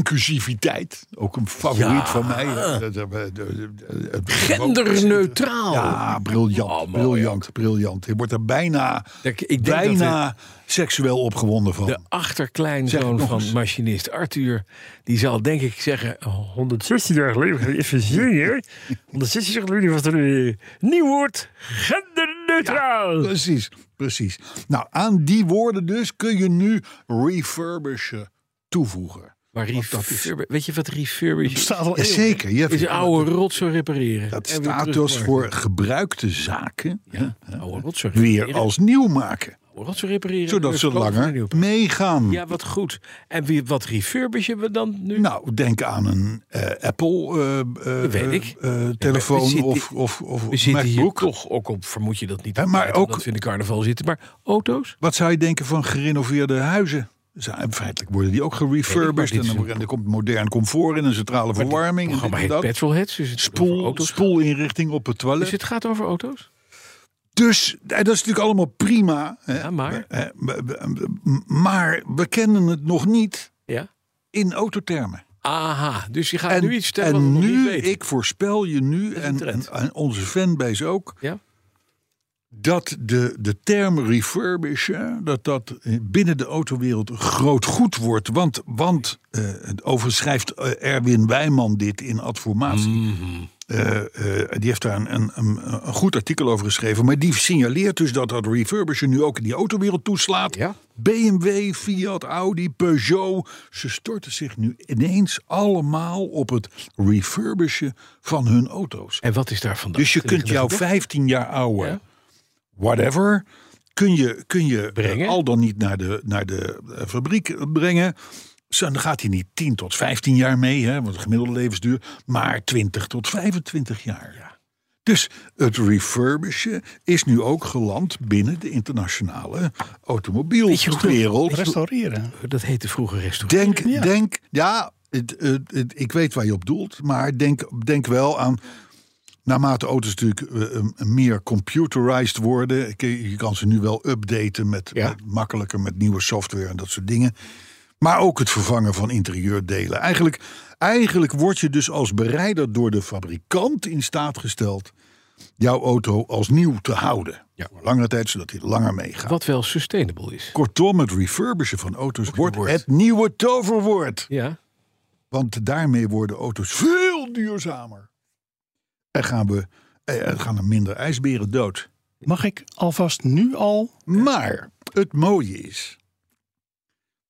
Speaker 2: Inclusiviteit. Ook een favoriet
Speaker 3: Ja.
Speaker 2: van mij. Dat- dat- dat- dat- dat-
Speaker 3: Genderneutraal.
Speaker 2: Ja, briljant,
Speaker 3: Oh, mooi,
Speaker 2: briljant, briljant. Je wordt er bijna,
Speaker 3: Ik, ik denk dat
Speaker 2: bijna seksueel opgewonden van.
Speaker 3: de, de
Speaker 2: Hmm. Zeg het
Speaker 3: achterkleinzoon
Speaker 2: nog
Speaker 3: van
Speaker 2: eens.
Speaker 3: machinist Arthur... die zal denk ik zeggen... oh,
Speaker 6: 116 jaar geleden, even
Speaker 3: [LAUGHS]
Speaker 6: junior. 116 jaar geleden was er een eh, nieuw woord: genderneutraal.
Speaker 2: Precies, precies. Nou, aan die woorden dus kun je nu refurbishen toevoegen.
Speaker 3: Maar refurb- weet je wat refurbish is?
Speaker 4: Staat al
Speaker 2: Ja,
Speaker 4: eeuwen.
Speaker 2: zeker. Je
Speaker 3: Is
Speaker 2: vindt-
Speaker 3: een oude rotzooi repareren.
Speaker 2: dat
Speaker 3: En weer
Speaker 2: staat dus
Speaker 3: terugmaken.
Speaker 2: voor gebruikte zaken hè,
Speaker 3: Oude rotzooi
Speaker 2: weer als nieuw maken.
Speaker 3: rotzooi repareren.
Speaker 2: Zodat
Speaker 3: dus
Speaker 2: ze
Speaker 3: kopen we een
Speaker 2: langer
Speaker 3: nieuwe.
Speaker 2: meegaan.
Speaker 3: Ja, wat goed. En wie, wat refurbishen we dan nu?
Speaker 2: Nou, denk aan een eh, Apple eh, eh,
Speaker 3: Dat weet ik.
Speaker 2: eh, telefoon
Speaker 3: zitten-
Speaker 2: of, of, of
Speaker 3: we zitten hier
Speaker 2: MacBook.
Speaker 3: toch, ook al vermoed je dat niet,
Speaker 2: Hè,
Speaker 3: op
Speaker 2: maar
Speaker 3: tijd, omdat
Speaker 2: ook-
Speaker 3: we in de carnaval zitten, maar auto's?
Speaker 2: Wat zou je denken van gerenoveerde huizen? Zijn, feitelijk worden die ook
Speaker 3: Weet ik, maar
Speaker 2: gerefurbished.
Speaker 3: dit
Speaker 2: En,
Speaker 3: is
Speaker 2: dan,
Speaker 3: een-
Speaker 2: en er komt modern comfort in, een centrale verwarming. en
Speaker 3: Het programma
Speaker 2: dit en
Speaker 3: heet
Speaker 2: dat.
Speaker 3: Petrolheads, dus het gaat over
Speaker 2: Spoel,
Speaker 3: auto's.
Speaker 2: spoelinrichting op het toilet.
Speaker 3: Dus het gaat over auto's?
Speaker 2: Dus eh, dat is natuurlijk allemaal prima. Hè?
Speaker 3: Ja, maar?
Speaker 2: Eh, b- b- m- maar we kennen het nog niet
Speaker 3: Ja.
Speaker 2: in autothermen.
Speaker 3: Aha, dus je gaat
Speaker 2: En,
Speaker 3: nu iets vertellen wat we
Speaker 2: en
Speaker 3: nog niet
Speaker 2: nu,
Speaker 3: weten.
Speaker 2: ik voorspel je nu
Speaker 3: is
Speaker 2: en,
Speaker 3: een trend.
Speaker 2: en, en onze fanbase ook,
Speaker 3: Ja?
Speaker 2: dat de, de term refurbishen, dat dat eh, binnen de autowereld groot goed wordt. Want, want eh, overschrijft eh, Erwin Wijman dit in Adformatie. Eh, eh, die heeft daar een, een, een, een goed artikel over geschreven. Maar die signaleert dus dat dat refurbishen nu ook in die autowereld toeslaat.
Speaker 3: Ja.
Speaker 2: BMW, Fiat, Audi, Peugeot. Ze storten zich nu ineens allemaal op het refurbishen van hun auto's.
Speaker 3: En wat is daar vandaag?
Speaker 2: Dus je kunt jouw 15 jaar oude whatever. Kun je, kun je eh,
Speaker 3: Brengen?
Speaker 2: al dan niet naar de, naar de eh, fabriek eh, brengen. Zo, Dan gaat hij niet 10 tot 15 jaar mee, hè, want de gemiddelde levensduur. Maar 20 tot 25 jaar. Dus het refurbishen is nu ook geland binnen de internationale automobielwereld.
Speaker 4: Restaureren.
Speaker 3: Dat heette vroeger restaurant.
Speaker 2: Denk, denk, ja, het, het- het- ik weet waar je op doelt, maar denk, denk wel aan. Naarmate auto's natuurlijk eh, eh, meer computerized worden, je je kan ze nu wel updaten met,
Speaker 3: Ja.
Speaker 2: met makkelijker met nieuwe software en dat soort dingen. Maar ook het vervangen van interieurdelen. Eigenlijk, eigenlijk word je dus als bereider door de fabrikant in staat gesteld jouw auto als nieuw te houden.
Speaker 3: Ja.
Speaker 2: Voor langere tijd, zodat hij langer meegaat.
Speaker 3: Wat wel sustainable is.
Speaker 2: Kortom, het refurbishen van auto's wordt
Speaker 3: woord.
Speaker 2: het nieuwe toverwoord.
Speaker 3: Ja.
Speaker 2: Want daarmee worden auto's veel duurzamer. En gaan, we, eh, er gaan er minder ijsberen dood.
Speaker 4: Mag ik alvast nu al
Speaker 2: Maar het mooie is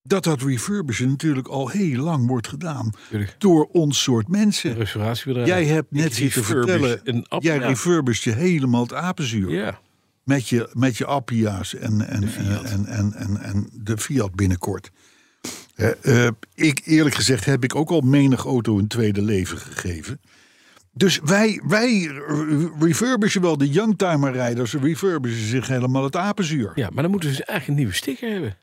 Speaker 2: dat dat refurbishen natuurlijk al heel lang wordt gedaan
Speaker 3: Tuurlijk.
Speaker 2: door ons soort mensen.
Speaker 3: Restauratiebedrijf.
Speaker 2: Jij hebt net
Speaker 3: Ik
Speaker 2: zitten
Speaker 3: refurbish
Speaker 2: vertellen,
Speaker 3: Een app,
Speaker 2: jij
Speaker 3: ja.
Speaker 2: refurbished je helemaal het apenzuur.
Speaker 3: ja.
Speaker 2: met je, met je Appia's en, en,
Speaker 3: Fiat.
Speaker 2: en, en, en, en de Fiat binnenkort. Eh, eh, ik, eerlijk gezegd heb ik ook al menig auto een tweede leven gegeven. Dus wij, wij refurbishen wel de youngtimer-rijders, refurbishen zich helemaal het apenzuur.
Speaker 3: Ja, maar dan moeten ze eigenlijk een nieuwe sticker hebben.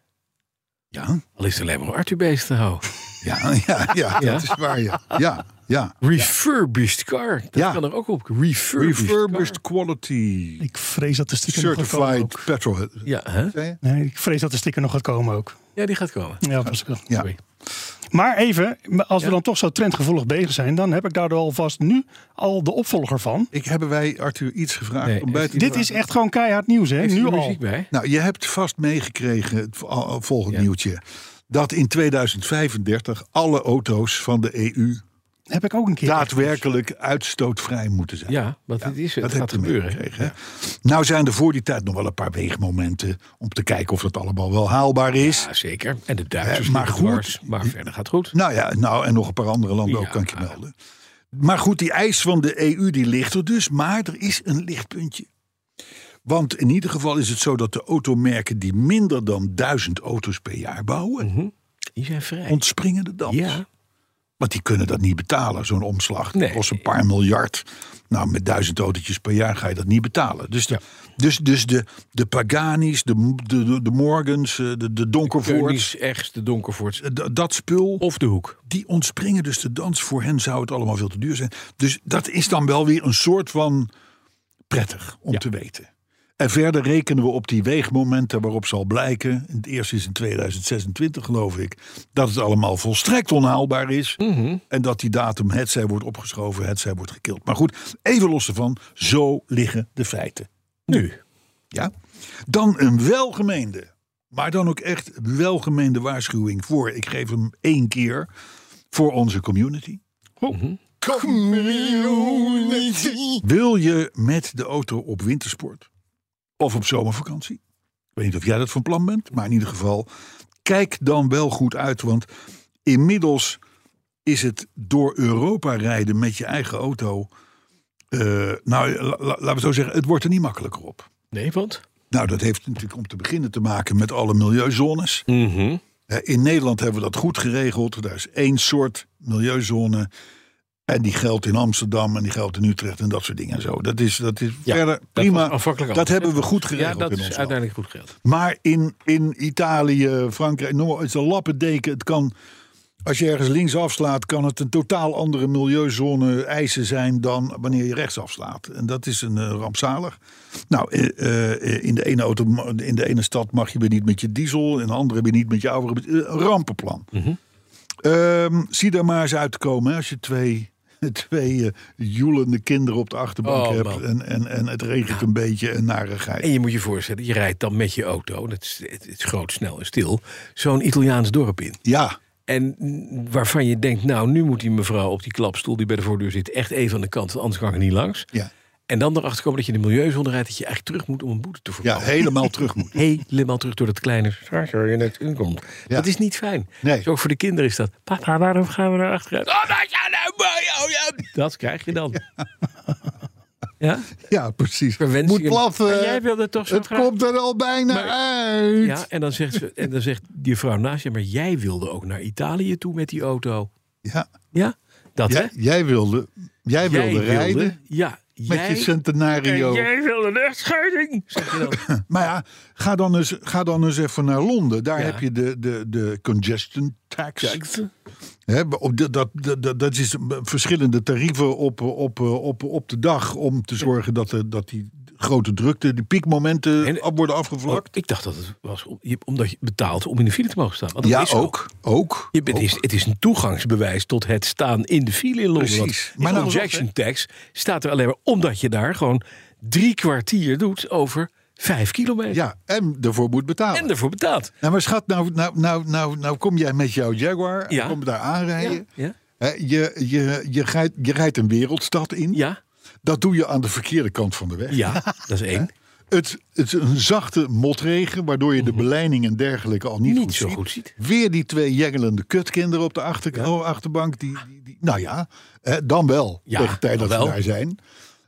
Speaker 2: Ja,
Speaker 3: Al is het alleen maar om Arthur bezig te [LAUGHS] houden.
Speaker 2: ja, [LAUGHS] ja, ja,
Speaker 3: Ja.
Speaker 2: dat is waar. Ja, ja. ja.
Speaker 3: Refurbished car. Dat
Speaker 2: Ja.
Speaker 3: kan er ook op. Refurbished,
Speaker 2: Refurbished
Speaker 3: car.
Speaker 2: quality.
Speaker 4: Ik vrees dat de sticker nog gaat komen
Speaker 2: Certified
Speaker 4: ook.
Speaker 2: petrol.
Speaker 3: Ja, hè?
Speaker 2: Zei je?
Speaker 4: Nee, ik vrees dat de sticker nog gaat komen ook.
Speaker 3: ja, die gaat komen.
Speaker 4: Ja, dat was ik wel.
Speaker 2: Ja.
Speaker 3: Sorry.
Speaker 4: Maar even, als we
Speaker 3: Ja.
Speaker 4: dan toch zo trendgevoelig bezig zijn, dan heb ik daardoor alvast nu al de opvolger van.
Speaker 2: Ik, hebben wij Arthur iets gevraagd
Speaker 3: Nee,
Speaker 2: om bij
Speaker 3: is-
Speaker 2: te
Speaker 4: Dit is echt gewoon keihard nieuws, hè?
Speaker 3: Heeft u
Speaker 4: Nu
Speaker 3: er
Speaker 4: al.
Speaker 3: muziek bij?
Speaker 2: Nou, je hebt vast meegekregen, het vo- al- al volgend
Speaker 3: Ja.
Speaker 2: nieuwtje, dat in 2035 alle auto's van de EU
Speaker 4: Heb ik ook een keer.
Speaker 2: daadwerkelijk uitstootvrij moeten zijn.
Speaker 3: dus. Ja, want dit is het.
Speaker 2: dat
Speaker 3: Het gaat
Speaker 2: heb je
Speaker 3: gebeuren.
Speaker 2: meegekregen. hè? Nou zijn er voor die tijd nog wel een paar weegmomenten om te kijken of dat allemaal wel haalbaar is.
Speaker 3: Ja, zeker. En de Duitsers
Speaker 2: Eh, maar
Speaker 3: liggen
Speaker 2: goed.
Speaker 3: dwars, maar verder gaat goed.
Speaker 2: Nou ja, nou en nog een paar andere landen
Speaker 3: Ja.
Speaker 2: ook kan ik je melden. Maar goed, die eis van de EU die ligt er dus, maar er is een lichtpuntje. Want in ieder geval is het zo dat de automerken die minder dan duizend auto's per jaar bouwen,
Speaker 3: Die zijn vrij.
Speaker 2: ontspringen de dans.
Speaker 3: Ja.
Speaker 2: Want die kunnen dat niet betalen, zo'n omslag. Dat
Speaker 3: Nee.
Speaker 2: kost een paar miljard. Nou, met duizend autootjes per jaar ga je dat niet betalen. Dus de, dus, dus de, de Pagani's, de, de, de, de Morgans, eh, de, de Donkervoorts,
Speaker 3: Keunigs, Echt de Donkervoorts.
Speaker 2: eh, d- dat spul,
Speaker 3: Of de hoek.
Speaker 2: die ontspringen dus de dans. Voor hen zou het allemaal veel te duur zijn. Dus dat is dan wel weer een soort van prettig om te weten. En verder rekenen we op die weegmomenten waarop zal blijken. Het eerste is in 2026, geloof ik. Dat het allemaal volstrekt onhaalbaar is. En dat die datum hetzij wordt opgeschoven, hetzij wordt gekild. Maar goed, even los ervan. Zo liggen de feiten.
Speaker 3: Nu.
Speaker 2: Ja? Dan een welgemeende, maar dan ook echt welgemeende waarschuwing voor. Ik geef hem één keer voor onze community.
Speaker 3: Oh.
Speaker 2: Community. Wil je met de auto op wintersport of op zomervakantie? Ik weet niet of jij dat van plan bent, maar in ieder geval kijk dan wel goed uit, want inmiddels is het door Europa rijden met je eigen auto. eh, nou, la- la- laten we het zo zeggen, het wordt er niet makkelijker op.
Speaker 3: Nee, want?
Speaker 2: Nou, dat heeft natuurlijk om te beginnen te maken met alle milieuzones. Hè, Eh, In Nederland hebben we dat goed geregeld. Daar is één soort milieuzone. En die geldt in Amsterdam en die geldt in Utrecht en dat soort dingen en zo. Dat is, dat is
Speaker 3: Ja,
Speaker 2: verder
Speaker 3: dat
Speaker 2: prima.
Speaker 3: was aanvankelijk
Speaker 2: Dat
Speaker 3: anders,
Speaker 2: hebben
Speaker 3: hè?
Speaker 2: we goed
Speaker 3: Ja,
Speaker 2: geregeld
Speaker 3: dat
Speaker 2: in
Speaker 3: is
Speaker 2: ons land.
Speaker 3: uiteindelijk goed geld.
Speaker 2: Maar in, in Italië, Frankrijk, noem maar, het is een lappendeken. Het kan, als je ergens links afslaat, kan het een totaal andere milieuzone eisen zijn dan wanneer je rechts afslaat. En dat is een eh, rampzalig. Nou, eh, eh, in, de ene auto, in de ene stad mag je weer niet met je diesel, in de andere weer niet met je oude. Een rampenplan.
Speaker 3: Mhm.
Speaker 2: Ehm, zie daar maar eens uit te komen hè, als je twee, [LAUGHS] twee eh, joelende kinderen op de achterbank
Speaker 3: Oh,
Speaker 2: hebt.
Speaker 3: man.
Speaker 2: En, en, en het regent een beetje en narigheid.
Speaker 3: En je moet je voorstellen, je rijdt dan met je auto, dat is, het is groot, snel en stil, zo'n Italiaans dorp in.
Speaker 2: Ja.
Speaker 3: En mm, waarvan je denkt, nou, nu moet die mevrouw op die klapstoel die bij de voordeur zit echt even aan de kant, want anders kan ik er niet langs.
Speaker 2: Ja.
Speaker 3: En dan erachter komen dat je in de milieuzone rijdt, dat je eigenlijk terug moet om een boete te
Speaker 2: Ja,
Speaker 3: voorkomen.
Speaker 2: helemaal terug moet.
Speaker 3: Helemaal terug door dat kleine straatje waar je net in komt.
Speaker 2: Ja.
Speaker 3: Dat is niet fijn.
Speaker 2: Nee.
Speaker 3: Dus ook voor de kinderen is dat. Papa, waarom gaan we nou achteruit? Oh, dat is nou mooi, oh ja. Dat krijg je dan. Ja?
Speaker 2: [LAUGHS] Ja, precies.
Speaker 3: Verwens
Speaker 2: Moet
Speaker 3: je-
Speaker 2: plat.
Speaker 3: Maar
Speaker 2: eh,
Speaker 3: jij wilde toch zo
Speaker 2: het
Speaker 3: graag-
Speaker 2: komt er al bijna uit.
Speaker 3: Ja, en dan zegt, ze, en dan zegt die vrouw naast je, maar jij wilde ook naar Italië toe met die auto.
Speaker 2: Ja,
Speaker 3: Ja, dat hè?
Speaker 2: jij, jij wilde, jij wilde rijden
Speaker 3: ja,
Speaker 2: met
Speaker 3: jij, Eh,
Speaker 2: je centenario.
Speaker 6: Jij wilde een echtscheiding.
Speaker 3: zeg je dan,
Speaker 2: [LAUGHS] Maar ja, ga dan, eens, ga dan eens even naar Londen. Daar
Speaker 3: Ja.
Speaker 2: heb je de, de, de congestion tax. Hè, maar op de- dat, dat, dat, dat is een- verschillende tarieven op, op, op, op de dag om te zorgen dat, de- dat die grote drukte, die piekmomenten
Speaker 3: En-
Speaker 2: af worden afgevlakt.
Speaker 3: ik dacht dat het was om- je- omdat je betaalt om in de file te mogen staan. Want dat
Speaker 2: ja,
Speaker 3: is zo.
Speaker 2: ook. ook,
Speaker 3: Je bent,
Speaker 2: ook.
Speaker 3: het is, het is een toegangsbewijs tot het staan in de file in Londen.
Speaker 2: Precies.
Speaker 3: Want
Speaker 2: Maar
Speaker 3: die
Speaker 2: nou-
Speaker 3: congestion tax staat er alleen maar omdat je daar gewoon drie kwartier doet over vijf kilometer.
Speaker 2: Ja, en ervoor moet betalen.
Speaker 3: En ervoor betaalt.
Speaker 2: Nou, maar schat, nou, nou, nou, nou, nou kom jij met jouw Jaguar.
Speaker 3: Ja.
Speaker 2: en Kom daar aanrijden.
Speaker 3: Ja?
Speaker 2: Hè, je, je, je, rijdt, je rijdt een wereldstad in.
Speaker 3: Ja,
Speaker 2: Dat doe je aan de verkeerde kant van de weg. [LAUGHS]
Speaker 3: ja, dat is één.
Speaker 2: Het, het is een zachte motregen, waardoor je de beleiding en dergelijke al niet,
Speaker 3: Mhm. Niet
Speaker 2: goed
Speaker 3: zo
Speaker 2: ziet.
Speaker 3: goed ziet.
Speaker 2: Weer die twee jengelende kutkinderen op de achter, oh, achterbank. Die, die, die- nou ja, hè, dan wel.
Speaker 3: Ja,
Speaker 2: tegen de tijd
Speaker 3: dan
Speaker 2: dat we
Speaker 3: wel.
Speaker 2: daar zijn.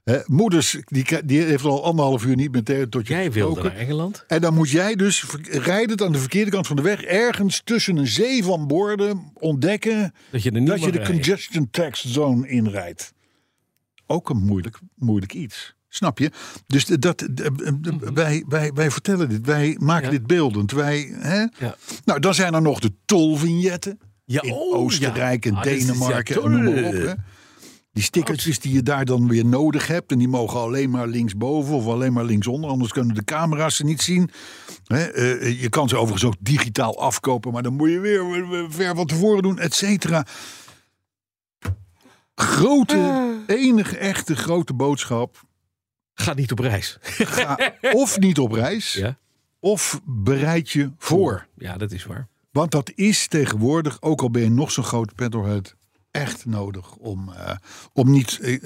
Speaker 2: Hè, moeders, die, k- die heeft al anderhalf uur niet meer tegen tot je
Speaker 3: Jij wilde
Speaker 2: gesproken.
Speaker 3: naar Engeland.
Speaker 2: En dan moet jij dus ver- rijdend aan de verkeerde kant van de weg, ergens tussen een zee van borden, ontdekken
Speaker 3: Dat je er niet
Speaker 2: dat
Speaker 3: mag
Speaker 2: je de
Speaker 3: rijden.
Speaker 2: congestion tax zone inrijdt. Ook een moeilijk, moeilijk iets. Snap je? Dus de- dat, de- de- de- wij, wij, wij vertellen dit, wij maken
Speaker 3: Mhm. Ja.
Speaker 2: dit beeldend. Wij, hè?
Speaker 3: Ja.
Speaker 2: Nou, dan zijn er nog de tolvignetten
Speaker 3: Ja,
Speaker 2: in
Speaker 3: oh, ja.
Speaker 2: Oostenrijk en
Speaker 3: Ah, dit is-
Speaker 2: Denemarken.
Speaker 3: ja,
Speaker 2: en noem maar
Speaker 3: toll.
Speaker 2: op, hè. Die stickertjes die je daar dan weer nodig hebt. En die mogen alleen maar linksboven of alleen maar linksonder. Anders kunnen de camera's ze niet zien. Hè, eh, je kan ze overigens ook digitaal afkopen. Maar dan moet je weer eh, ver wat tevoren doen, et cetera. Grote, enige echte grote boodschap.
Speaker 3: [LAUGHS] Ga niet op reis.
Speaker 2: Ga of niet op reis.
Speaker 3: Ja.
Speaker 2: Of bereid je voor.
Speaker 3: Ja, dat is waar.
Speaker 2: Want dat is tegenwoordig, ook al ben je nog zo'n grote petrolhead, echt nodig om, eh, om niet eh, eh,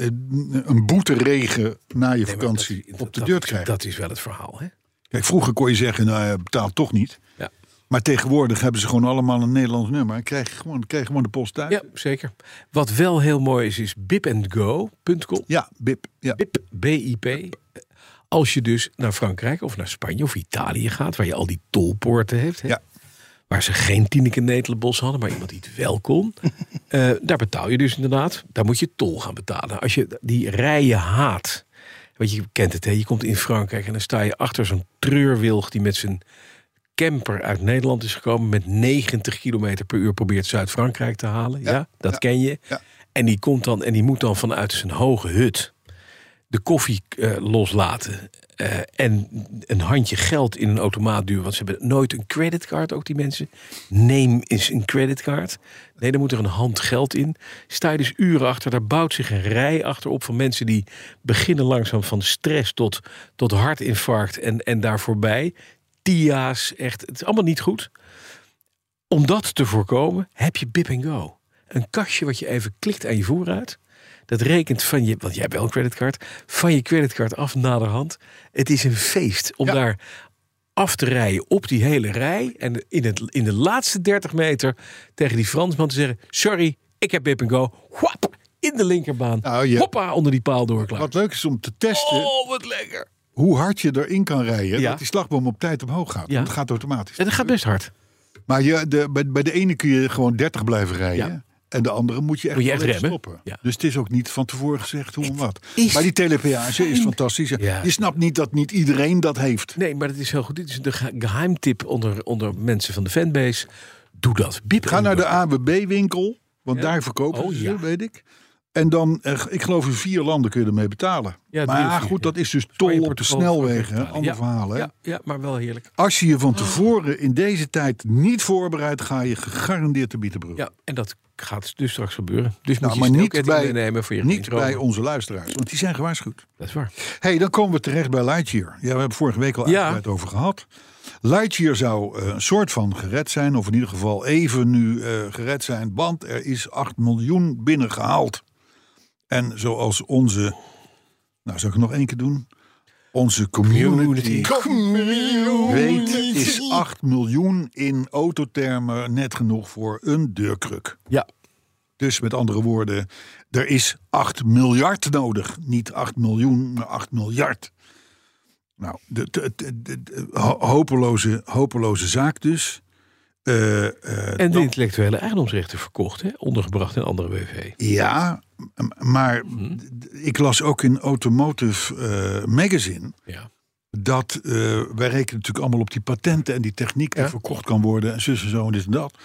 Speaker 2: een boeteregen na je vakantie
Speaker 3: Dat-
Speaker 2: op de
Speaker 3: dat-
Speaker 2: deur te krijgen.
Speaker 3: Dat is wel het verhaal, hè?
Speaker 2: Kijk, vroeger kon je zeggen, nou ja, betaal toch niet.
Speaker 3: Ja.
Speaker 2: Maar tegenwoordig hebben ze gewoon allemaal een Nederlands nummer. En krijg je gewoon, krijg je gewoon de post thuis.
Speaker 3: Ja, zeker. Wat wel heel mooi is, is bipandgo.com.
Speaker 2: Ja, bip. Ja.
Speaker 3: BIP, BIP. Als je dus naar Frankrijk of naar Spanje of Italië gaat, waar je al die tolpoorten hebt, hè,
Speaker 2: Ja.
Speaker 3: waar ze geen Tineke Netelenbos hadden, maar iemand die het wel
Speaker 2: [LAUGHS]
Speaker 3: kon, eh, daar betaal je dus inderdaad, daar moet je tol gaan betalen. Als je die rijen haat, want je kent het, hè, je komt in Frankrijk en dan sta je achter zo'n treurwilg die met zijn camper uit Nederland is gekomen met 90 km per uur probeert Zuid-Frankrijk te halen. Ja,
Speaker 2: Ja,
Speaker 3: dat
Speaker 2: ja,
Speaker 3: ken je.
Speaker 2: ja.
Speaker 3: En die komt dan en die moet dan vanuit zijn hoge hut de koffie eh, loslaten. eh, en een handje geld in een automaat duwen. Want ze hebben nooit een creditcard, ook die mensen. Neem eens een creditcard. Nee, dan moet er een hand geld in. Sta je dus uren achter. Daar bouwt zich een rij achterop van mensen die beginnen langzaam van stress tot, tot hartinfarct en, en daar voorbij. TIA's, echt. Het is allemaal niet goed. Om dat te voorkomen heb je Bip Go. Een kastje wat je even klikt aan je vooruit. Dat rekent van je, want jij hebt wel een creditcard, van je creditcard af naderhand. Het is een feest om
Speaker 2: Ja.
Speaker 3: daar af te rijden op die hele rij. En in, het, in de laatste 30 meter tegen die Fransman te zeggen: Sorry, ik heb Bip Go. Whap, in de linkerbaan.
Speaker 2: Nou, je-
Speaker 3: Hoppa, onder die paal door. Klaar.
Speaker 2: Wat leuk is om te testen
Speaker 3: oh, wat lekker.
Speaker 2: hoe hard je erin kan rijden,
Speaker 3: Ja.
Speaker 2: dat die slagboom op tijd omhoog gaat.
Speaker 3: Ja.
Speaker 2: Want het gaat automatisch.
Speaker 3: En dat gaat best hard.
Speaker 2: Maar je, de, bij, bij de ene kun je gewoon 30 blijven rijden.
Speaker 3: Ja.
Speaker 2: En de andere moet je echt,
Speaker 3: Moet je
Speaker 2: wel
Speaker 3: echt
Speaker 2: even
Speaker 3: remmen.
Speaker 2: stoppen.
Speaker 3: Ja.
Speaker 2: Dus het is ook niet van tevoren gezegd hoe en wat. Maar die telepeage is fantastisch.
Speaker 3: Ja.
Speaker 2: Je snapt niet dat niet iedereen dat heeft.
Speaker 3: Nee, maar dat is heel goed. Dit is de ge- geheimtip onder, onder mensen van de fanbase. Doe dat. Bip
Speaker 2: Ga naar de AWB-winkel, want
Speaker 3: Ja.
Speaker 2: daar verkopen
Speaker 3: Oh,
Speaker 2: ze,
Speaker 3: ja.
Speaker 2: weet ik. En dan, eh, ik geloof in vier landen kun je ermee betalen.
Speaker 3: Ja, drie of
Speaker 2: maar
Speaker 3: vier,
Speaker 2: goed,
Speaker 3: ja.
Speaker 2: dat is dus
Speaker 3: Spanje,
Speaker 2: tol op de
Speaker 3: Portugal,
Speaker 2: snelwegen.
Speaker 3: Frankrijk,
Speaker 2: hè. Ander
Speaker 3: Italië.
Speaker 2: verhaal, hè?
Speaker 3: Ja, ja, maar wel heerlijk.
Speaker 2: Als je je van tevoren in deze tijd niet voorbereidt... ga je gegarandeerd de bietenbrug.
Speaker 3: Ja, en dat gaat dus straks gebeuren. Dus
Speaker 2: Nou,
Speaker 3: moet
Speaker 2: maar
Speaker 3: je
Speaker 2: niet
Speaker 3: sneeuwketting
Speaker 2: bij,
Speaker 3: meenemen voor je
Speaker 2: niet
Speaker 3: kinderen.
Speaker 2: bij onze luisteraars, want die zijn gewaarschuwd.
Speaker 3: Dat is waar.
Speaker 2: hey, dan komen we terecht bij Lightyear. Ja, we hebben vorige week al
Speaker 3: Ja.
Speaker 2: uitgebreid over gehad. Lightyear zou eh, een soort van gered zijn, of in ieder geval even nu eh, gered zijn, want er is 8 miljoen binnengehaald. En zoals onze, nou zou ik het nog één keer doen, onze community, weet, is 8 miljoen in autothermen net genoeg voor een deurkruk.
Speaker 3: Ja,
Speaker 2: Dus met andere woorden, er is 8 miljard nodig. Niet 8 miljoen, maar 8 miljard. Nou, de, de- de- de- de- ho- hopeloze, hopeloze zaak dus. Eh, eh,
Speaker 3: en de intellectuele eigendomsrechten verkocht, hè? ondergebracht in andere WV.
Speaker 2: ja, m- maar d- d- ik las ook in Automotive eh, Magazine...
Speaker 3: Ja.
Speaker 2: dat eh, wij rekenen natuurlijk allemaal op die patenten... en die techniek die verkocht kan worden en zus en zo en dit en dat...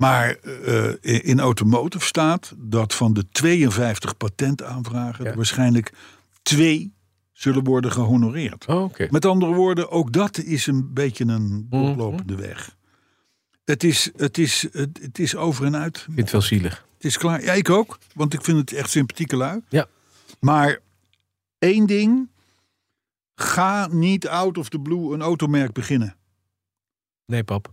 Speaker 2: Maar eh, in in automotive staat dat van de 52 patentaanvragen
Speaker 3: Ja.
Speaker 2: er waarschijnlijk twee zullen worden gehonoreerd.
Speaker 3: Oh, Oké.
Speaker 2: Met andere woorden, ook dat is een beetje een doorlopende weg. Het is, het, is, het, het is over en uit.
Speaker 3: Ik vind het wel zielig.
Speaker 2: Het is klaar. Ja, ik ook, want ik vind het echt sympathieke lui.
Speaker 3: Ja.
Speaker 2: Maar één ding. Ga niet out of the blue een automerk beginnen.
Speaker 3: Nee, pap.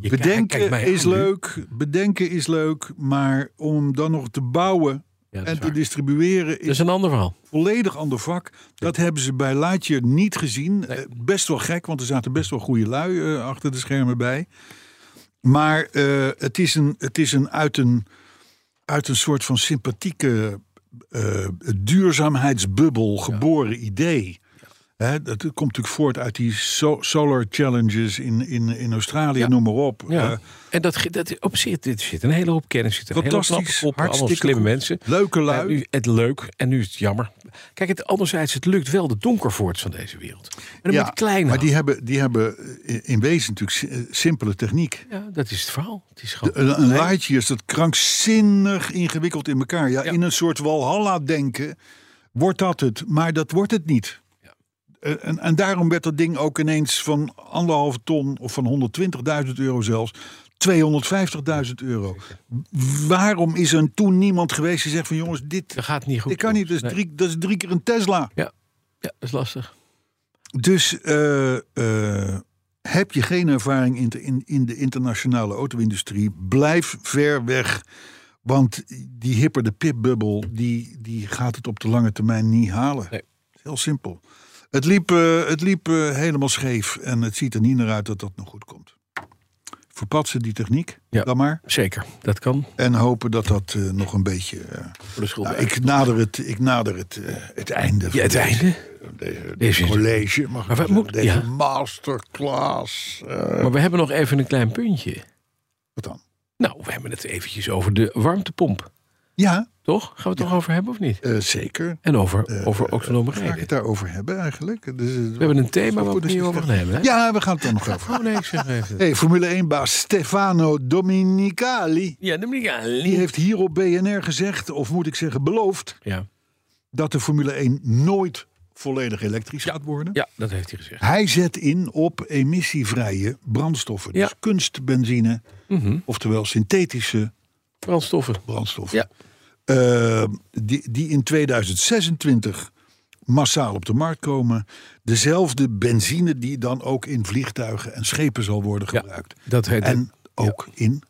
Speaker 3: Je kijkt-
Speaker 2: Bedenken
Speaker 3: kijkt mij
Speaker 2: is
Speaker 3: aan nu.
Speaker 2: leuk, bedenken is leuk, maar om dan nog te bouwen
Speaker 3: Ja, dat, is
Speaker 2: en te
Speaker 3: waar.
Speaker 2: distribueren
Speaker 3: dat is
Speaker 2: is
Speaker 3: een ander verhaal.
Speaker 2: een volledig ander vak. Dat hebben ze bij Lightyear niet gezien. Eh, Best wel gek, want er zaten best wel goede lui eh, achter de schermen bij. Maar eh, het is, een, het is een, uit, een, uit een soort van sympathieke eh, duurzaamheidsbubbel geboren idee. Hè, dat komt natuurlijk voort uit die so- solar challenges in, in, in Australië, noem maar op.
Speaker 3: Ja.
Speaker 2: Eh,
Speaker 3: en dat, ge- dat op zit, dit zit een hele hoop kennis. Zit een hele knappe
Speaker 2: Fantastisch,
Speaker 3: kop, allemaal
Speaker 2: hartstikke
Speaker 3: slimme
Speaker 2: goed.
Speaker 3: mensen.
Speaker 2: Leuke
Speaker 3: Maar
Speaker 2: lui.
Speaker 3: nu, het leuk en nu is het jammer. Kijk, het, anderzijds, het lukt wel de donkervoorts van deze wereld. En dan moet je het klein
Speaker 2: maar die
Speaker 3: houden.
Speaker 2: hebben, die hebben in- in wezen natuurlijk si- eh, simpele techniek.
Speaker 3: Ja, dat is het verhaal. Het is gewoon...
Speaker 2: Een, een lightje is dat krankzinnig ingewikkeld in elkaar. Ja,
Speaker 3: Ja.
Speaker 2: In een soort walhalla-denken wordt dat het, maar dat wordt het niet.
Speaker 3: Ja.
Speaker 2: Eh, En, en daarom werd dat ding ook ineens van anderhalve ton of van 120.000 euro zelfs 250.000 euro. Waarom is er toen niemand geweest die zegt van jongens, dit,
Speaker 3: dat gaat niet goed.
Speaker 2: dit kan niet, dat is,
Speaker 3: Nee.
Speaker 2: drie, dat is drie keer een Tesla.
Speaker 3: Ja. ja, dat is lastig.
Speaker 2: Dus eh, eh, heb je geen ervaring in de, in, in de internationale auto-industrie, blijf ver weg. Want die hipper de pipbubbel, die, die gaat het op de lange termijn niet halen.
Speaker 3: Nee.
Speaker 2: Heel simpel. Het liep, eh, het liep eh, helemaal scheef en het ziet er niet naar uit dat dat nog goed komt. Verpatsen die techniek
Speaker 3: Ja.
Speaker 2: dan maar.
Speaker 3: Zeker, dat kan.
Speaker 2: En hopen dat dat eh, nog een beetje... eh,
Speaker 3: Voor de schuld.
Speaker 2: nou, ik nader het, ik nader het, eh, het einde. van
Speaker 3: ja, het
Speaker 2: deze-
Speaker 3: einde.
Speaker 2: deze,
Speaker 3: Deze-
Speaker 2: college, mag
Speaker 3: Maar
Speaker 2: ik
Speaker 3: wat
Speaker 2: zeggen,
Speaker 3: moet-
Speaker 2: deze
Speaker 3: ja.
Speaker 2: masterclass. eh,
Speaker 3: Maar we hebben nog even een klein puntje.
Speaker 2: wat dan?
Speaker 3: Nou, we hebben het eventjes over de warmtepomp.
Speaker 2: Ja,
Speaker 3: Toch? Gaan we het toch over hebben of niet?
Speaker 2: eh, zeker.
Speaker 3: En over, over autonome
Speaker 2: Ga ik
Speaker 3: rijden.
Speaker 2: het daarover hebben eigenlijk? Dus, eh,
Speaker 3: We hebben een thema waar we
Speaker 2: goed
Speaker 3: het
Speaker 2: is
Speaker 3: niet over gaan hebben. Hè?
Speaker 2: Ja, we gaan het er nog over.
Speaker 3: Oh nee, ik zeg even.
Speaker 2: Hey, Formule 1-baas Stefano Dominicali.
Speaker 3: Ja, dat moet ik
Speaker 2: Die
Speaker 3: aan.
Speaker 2: heeft hier op BNR gezegd, of moet ik zeggen beloofd...
Speaker 3: Ja.
Speaker 2: dat de Formule 1 nooit volledig elektrisch gaat worden.
Speaker 3: ja, dat heeft hij gezegd.
Speaker 2: Hij zet in op emissievrije brandstoffen. Dus
Speaker 3: Ja. Mhm.
Speaker 2: kunstbenzine, oftewel synthetische
Speaker 3: Brandstoffen.
Speaker 2: brandstof.
Speaker 3: Ja.
Speaker 2: Eh, die, die in 2026 massaal op de markt komen. Dezelfde benzine die dan ook in vliegtuigen en schepen zal worden
Speaker 3: Ja,
Speaker 2: gebruikt.
Speaker 3: dat heet
Speaker 2: en ook in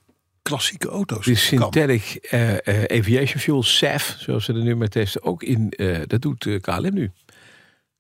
Speaker 2: klassieke auto's.
Speaker 3: de
Speaker 2: kan.
Speaker 3: synthetic eh, eh, aviation fuel, SAF, zoals ze er nu mee testen. Ook in, eh, dat doet eh, KLM nu.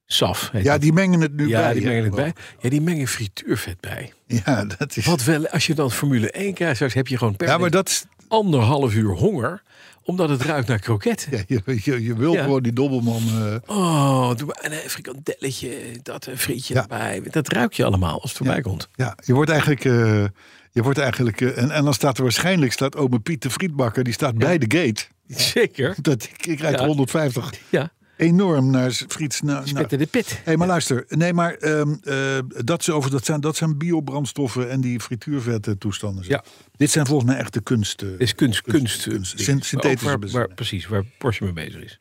Speaker 3: SAF heet
Speaker 2: Ja,
Speaker 3: dat.
Speaker 2: die mengen het nu bij.
Speaker 3: ja, die
Speaker 2: hè,
Speaker 3: mengen het bij.
Speaker 2: geloof
Speaker 3: Ja, die mengen frituurvet bij.
Speaker 2: ik. Ja, dat is...
Speaker 3: Wat wel, als je dan Formule 1 krijgt, straks heb je gewoon per
Speaker 2: ja, maar dat is...
Speaker 3: anderhalf uur honger, omdat het ruikt naar kroketten.
Speaker 2: Ja, je, je, je wil
Speaker 3: Ja.
Speaker 2: gewoon die dobbelman. eh,
Speaker 3: Oh, doe maar een frikandelletje, dat een frietje
Speaker 2: Ja.
Speaker 3: erbij. Dat ruik je allemaal als het voorbij komt.
Speaker 2: ja, je wordt eigenlijk. eh, je wordt eigenlijk eh, en, en dan staat er waarschijnlijk staat ome Piet de Frietbakker. Die staat bij de gate.
Speaker 3: Zeker.
Speaker 2: Dat, ik, ik rijd
Speaker 3: Ja.
Speaker 2: 150
Speaker 3: Ja,
Speaker 2: enorm naar z- friets. Nou, nou.
Speaker 3: spetten de pit.
Speaker 2: Hé, maar luister. Nee, maar ehm, eh, dat, is over, dat, zijn, dat zijn biobrandstoffen en die frituurvetten toestanden.
Speaker 3: Ja.
Speaker 2: Dit zijn volgens mij echte kunst. eh,
Speaker 3: Het is kunst, kunst,
Speaker 2: kunst,
Speaker 3: eh,
Speaker 2: syn- synthetische
Speaker 3: Ook waar,
Speaker 2: benzine.
Speaker 3: waar- Precies, waar Porsche mee bezig is.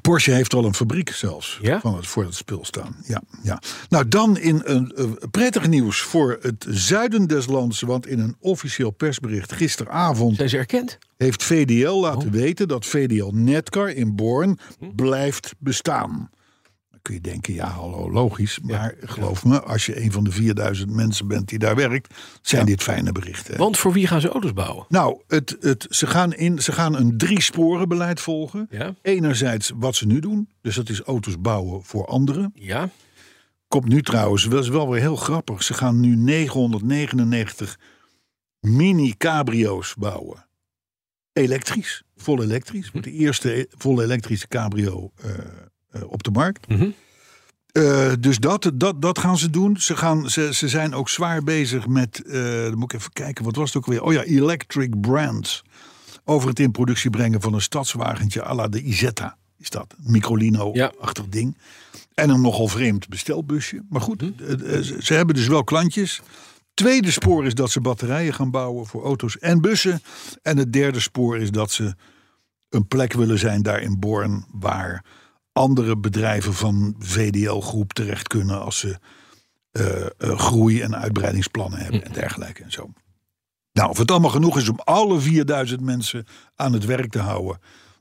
Speaker 2: Porsche heeft al een fabriek zelfs
Speaker 3: Ja?
Speaker 2: van het, voor dat spul staan. Ja, ja. Nou, dan in een eh, prettig nieuws voor het zuiden des lands. Want in een officieel persbericht gisteravond
Speaker 3: Zijn ze erkend?
Speaker 2: heeft VDL laten weten dat VDL Netcar in Born blijft bestaan. Dan kun je denken, ja, hallo, logisch. Maar geloof me, als je een van de 4000 mensen bent die daar werkt, zijn dit fijne berichten.
Speaker 3: Want voor wie gaan ze auto's bouwen?
Speaker 2: Nou, het, het, ze, gaan in, ze gaan een drie-sporen-beleid volgen.
Speaker 3: Ja.
Speaker 2: Enerzijds wat ze nu doen, dus dat is auto's bouwen voor anderen.
Speaker 3: Ja,
Speaker 2: Komt nu trouwens, dat is wel weer heel grappig. Ze gaan nu 999 mini-cabrio's bouwen. Elektrisch, vol elektrisch. De eerste e- vol elektrische cabrio eh, eh, op de markt.
Speaker 3: Mhm.
Speaker 2: Eh, dus dat, dat, dat gaan ze doen. Ze, gaan, ze, ze zijn ook zwaar bezig met, eh, dan moet ik even kijken, wat was het ook weer? Oh ja, Electric Brands. Over het in productie brengen van een stadswagentje à la de Isetta. Is dat? Microlino-achtig ding. En een nogal vreemd bestelbusje. Maar goed, eh, eh, ze- ze hebben dus wel klantjes. Tweede spoor is dat ze batterijen gaan bouwen voor auto's en bussen. En het derde spoor is dat ze een plek willen zijn daar in Born waar andere bedrijven van VDL-groep terecht kunnen als ze eh, eh, groei- en uitbreidingsplannen hebben en dergelijke en zo. Nou, of het allemaal genoeg is om alle 4000 mensen aan het werk te houden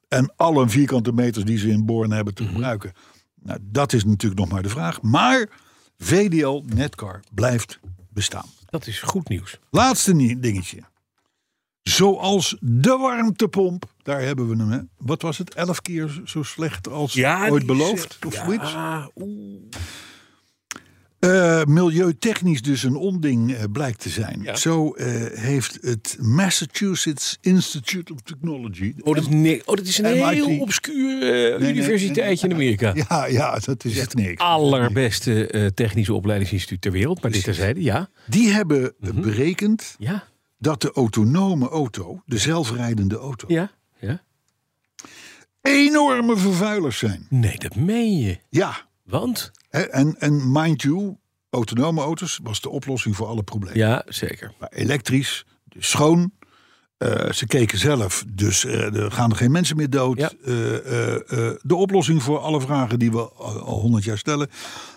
Speaker 2: en alle vierkante meters die ze in Born hebben te gebruiken, nou, dat is natuurlijk nog maar de vraag. Maar VDL Netcar blijft bestaan.
Speaker 3: dat is goed nieuws.
Speaker 2: Laatste nie- dingetje. Zoals de warmtepomp. Daar hebben we hem. Hè. Wat was het? Elf keer zo- zo slecht als
Speaker 6: Ja,
Speaker 2: ooit
Speaker 6: die
Speaker 2: beloofd?
Speaker 6: zegt-
Speaker 2: Of
Speaker 6: ja.
Speaker 2: zoiets?
Speaker 3: Oh,
Speaker 2: Eh, milieutechnisch dus een onding eh, blijkt te zijn. Zo eh, heeft het Massachusetts Institute of Technology...
Speaker 3: Oh, dat, is nee, oh, dat is een
Speaker 2: MIT.
Speaker 3: heel obscuur eh,
Speaker 2: nee,
Speaker 3: universiteit in Amerika.
Speaker 2: Ja, ja, dat is echt
Speaker 3: Ah.
Speaker 2: niks.
Speaker 3: Allerbeste eh, technische opleidingsinstituut ter wereld. Maar dit terzijde, ja.
Speaker 2: Die hebben eh, berekend
Speaker 3: Ja,
Speaker 2: dat de autonome auto, de zelfrijdende auto,
Speaker 3: ja, ja.
Speaker 2: enorme vervuilers zijn.
Speaker 3: Nee, dat meen je.
Speaker 2: Ja,
Speaker 3: Want?
Speaker 2: Hè, En, en mind you, autonome auto's was de oplossing voor alle problemen.
Speaker 3: Ja, zeker.
Speaker 2: Maar elektrisch, dus schoon. Eh, ze keken zelf, dus eh, er gaan er geen mensen meer dood.
Speaker 3: Ja.
Speaker 2: Eh, eh, eh, de oplossing voor alle vragen die we al al honderd jaar stellen.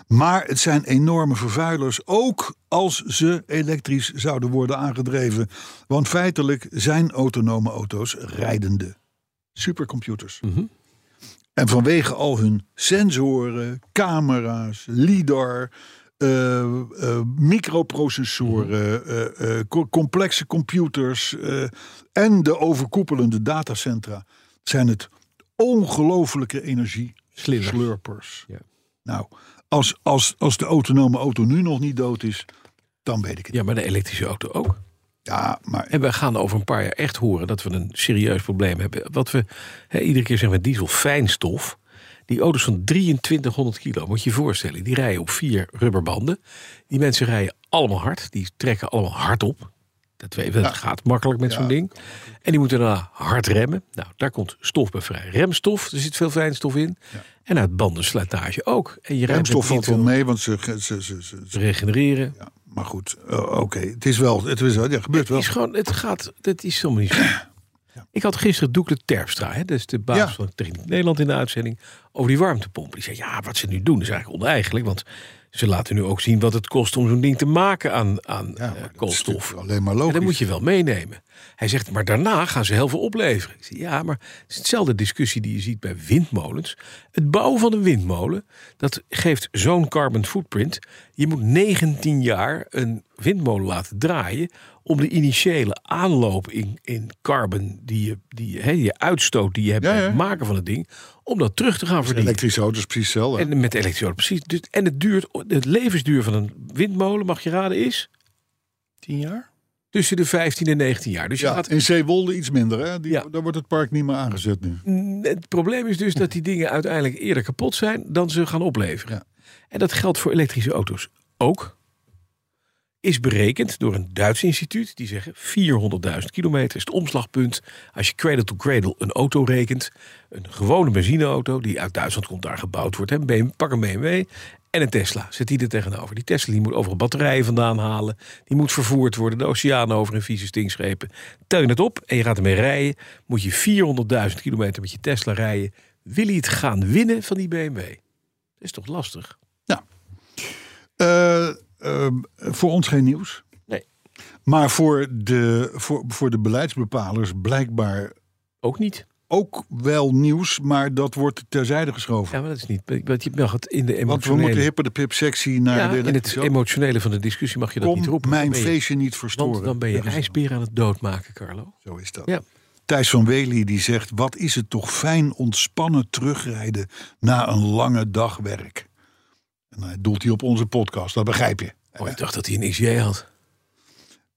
Speaker 2: Maar het zijn enorme vervuilers, ook als ze elektrisch zouden worden aangedreven. Want feitelijk zijn autonome auto's rijdende supercomputers.
Speaker 3: Mhm.
Speaker 2: En vanwege al hun sensoren, camera's, lidar, eh, eh, microprocessoren,
Speaker 3: Mhm.
Speaker 2: eh, eh, co- complexe computers eh, en de overkoepelende datacentra zijn het ongelofelijke energie
Speaker 3: Slinders.
Speaker 2: slurpers.
Speaker 3: Ja.
Speaker 2: Nou, als, als, als de autonome auto nu nog niet dood is, dan weet ik het.
Speaker 3: Ja, maar de elektrische auto ook.
Speaker 2: Ja, maar
Speaker 3: En we gaan over een paar jaar echt horen dat we een serieus probleem hebben. Wat we hè, iedere keer zeggen met dieselfijnstof. Die auto's van 2300 kilo, moet je je voorstellen. Die rijden op vier rubberbanden. Die mensen rijden allemaal hard. Die trekken allemaal hard op. Dat, weet, dat gaat makkelijk met zo'n ding. En die moeten daarna hard remmen. Nou, daar komt stof bij vrij. Remstof, er zit veel fijnstof in. En uit bandenslijtage ook. En je rijdt met
Speaker 2: remstof valt wel
Speaker 3: 2300
Speaker 2: mee, want ze, ze, ze, ze- ze-
Speaker 3: regenereren.
Speaker 2: ja, maar goed, eh, oké, het is wel, het is wel, ja, gebeurt wel.
Speaker 3: Het is gewoon, het gaat, dat is helemaal niet zo. Ik had gisteren Doekle Terpstra, hè, dat is de baas
Speaker 2: Ja.
Speaker 3: van Techniek Nederland in de uitzending, over die warmtepomp. Die zei, ja, wat ze nu doen is eigenlijk oneigenlijk, want ze laten nu ook zien wat het kost om zo'n ding te maken aan, aan
Speaker 2: Ja,
Speaker 3: eh,
Speaker 2: maar dat is
Speaker 3: koolstof.
Speaker 2: natuurlijk Alleen maar
Speaker 3: En
Speaker 2: logisch.
Speaker 3: dat moet je wel meenemen. Hij zegt, maar daarna gaan ze heel veel opleveren. Ik zeg, ja, maar het is hetzelfde discussie die je ziet bij windmolens. Het bouwen van een windmolen, dat geeft zo'n carbon footprint. Je moet 19 jaar een windmolen laten draaien... om de initiële aanloop in, in carbon, die je, die, je- hè, je uitstoot die je hebt
Speaker 2: Ja,
Speaker 3: bij
Speaker 2: ja.
Speaker 3: het maken van het ding... om dat terug te gaan verdienen.
Speaker 2: Elektrische auto's precies hetzelfde.
Speaker 3: En met elektrische auto, precies. Dus, en het, duurt, het levensduur van een windmolen, mag je raden, is...
Speaker 4: Tien jaar?
Speaker 3: tussen de 15 en 19 jaar. Dus je
Speaker 2: Ja,
Speaker 3: gaat,
Speaker 2: in Zeewolde iets minder. Hè? Die,
Speaker 3: Ja.
Speaker 2: Daar wordt het park niet meer aangezet nu.
Speaker 3: Mm, het probleem is dus dat die dingen uiteindelijk eerder kapot zijn dan ze gaan opleveren.
Speaker 2: Ja.
Speaker 3: En dat geldt voor elektrische auto's ook. Is berekend door een Duits instituut. Die zeggen 400.000 kilometer is het omslagpunt. Als je cradle to cradle een auto rekent. Een gewone benzineauto die uit Duitsland komt, daar gebouwd wordt. Hè, BM, pak een BMW en een Tesla. Zet die er tegenover. Die Tesla die moet overal batterijen vandaan halen. Die moet vervoerd worden. De oceaan over in vieze stinkschepen. Tel je het op en je gaat ermee rijden. Moet je 400.000 kilometer met je Tesla rijden. Wil je het gaan winnen van die BMW? Dat is toch lastig?
Speaker 2: Eh, eh, voor ons geen nieuws.
Speaker 3: Nee.
Speaker 2: Maar voor de, voor, voor de beleidsbepalers blijkbaar
Speaker 3: Ook niet.
Speaker 2: ook wel nieuws. Maar dat wordt terzijde geschoven.
Speaker 3: Ja, maar dat is niet. Want je mag het in de
Speaker 2: Want we moeten
Speaker 3: emotionele,
Speaker 2: hipper de pip sectie naar
Speaker 3: ja,
Speaker 2: de
Speaker 3: in het
Speaker 2: elektrische auto.
Speaker 3: emotionele van de discussie mag je dat
Speaker 2: Kom
Speaker 3: niet roepen. Dan
Speaker 2: mijn
Speaker 3: ben je-
Speaker 2: feestje niet verstoren.
Speaker 3: Want dan ben je
Speaker 2: Dat is het.
Speaker 3: ijsbeer aan het doodmaken, Carlo.
Speaker 2: Zo is dat.
Speaker 3: Ja.
Speaker 2: Thijs van Wely die zegt... wat is het toch fijn ontspannen terugrijden na een lange dag werk. En hij doelt hij op onze podcast, dat begrijp je.
Speaker 3: Oh, ik dacht dat hij een XJ had.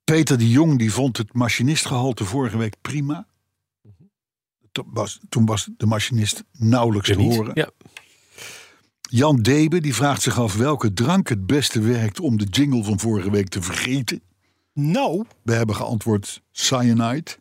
Speaker 2: Peter de Jong die vond het machinistgehalte vorige week prima. Toen was, toen was de machinist nauwelijks
Speaker 3: Ja,
Speaker 2: te
Speaker 3: niet.
Speaker 2: horen.
Speaker 3: Ja.
Speaker 2: Jan Debe die vraagt zich af welke drank het beste werkt... om de jingle van vorige week te vergeten.
Speaker 4: Nou,
Speaker 2: We hebben geantwoord cyanide.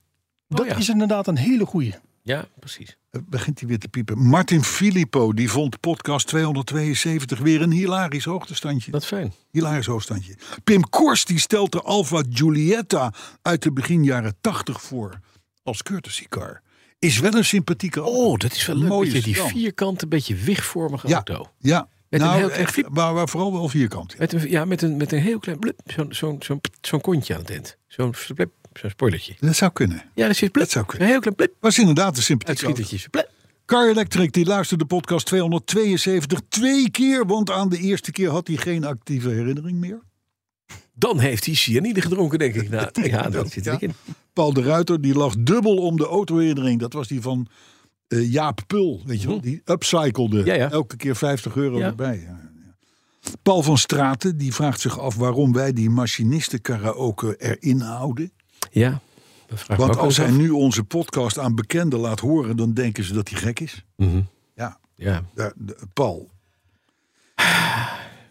Speaker 4: dat
Speaker 3: Oh ja.
Speaker 4: is inderdaad een hele goeie.
Speaker 3: ja, precies.
Speaker 2: Eh, Begint hij weer te piepen. Martin Filippo die vond podcast 272 weer een hilarisch hoogtestandje.
Speaker 3: Dat is fijn.
Speaker 2: Hilarisch hoogstandje. Pim Kors die stelt de Alfa Giulietta uit de begin jaren 80 voor als courtesy car. Is wel een sympathieke auto.
Speaker 3: Oh, dat is wel leuk.
Speaker 2: Mooie
Speaker 3: beetje die
Speaker 2: stand.
Speaker 3: vierkante, beetje wigvormige
Speaker 2: Ja.
Speaker 3: auto.
Speaker 2: Ja,
Speaker 3: Met een
Speaker 2: nou,
Speaker 3: heel klein
Speaker 2: echt,
Speaker 3: flip.
Speaker 2: maar, maar vooral wel vierkant.
Speaker 3: Met een, ja, met een, met een heel klein blup, zo'n zo'n zo'n zo'n kontje aan het eind. Zo'n blip, zo'n spoilertje.
Speaker 2: Dat zou kunnen.
Speaker 3: Ja, dat zit blip.
Speaker 2: Dat zou kunnen.
Speaker 3: Een heel klein blip,
Speaker 2: Was inderdaad een sympathieke auto.
Speaker 3: uitschietertjes. Blip.
Speaker 2: Car Electric die luisterde podcast 272 twee keer, want aan de eerste keer had hij geen actieve herinnering meer.
Speaker 3: Dan heeft hij cyanide gedronken, denk ik. Nou, ja, dat zit
Speaker 2: ja.
Speaker 3: er niet in.
Speaker 2: Paul de Ruiter die lag dubbel om de autoherinnering. Dat was die van eh, Jaap Pul, weet je wel? Die upcyclede
Speaker 3: Mhm. Ja, ja.
Speaker 2: elke keer 50 euro
Speaker 3: Ja.
Speaker 2: erbij. Ja, ja. Paul van Straten die vraagt zich af waarom wij die machinisten karaoke erin houden.
Speaker 3: Ja, dat vraag ik me
Speaker 2: Want
Speaker 3: ook
Speaker 2: als
Speaker 3: wel
Speaker 2: hij
Speaker 3: eens af.
Speaker 2: nu onze podcast aan bekenden laat horen, dan denken ze dat hij gek is.
Speaker 3: Mhm.
Speaker 2: Ja,
Speaker 3: Ja.
Speaker 2: daar- de- Paul.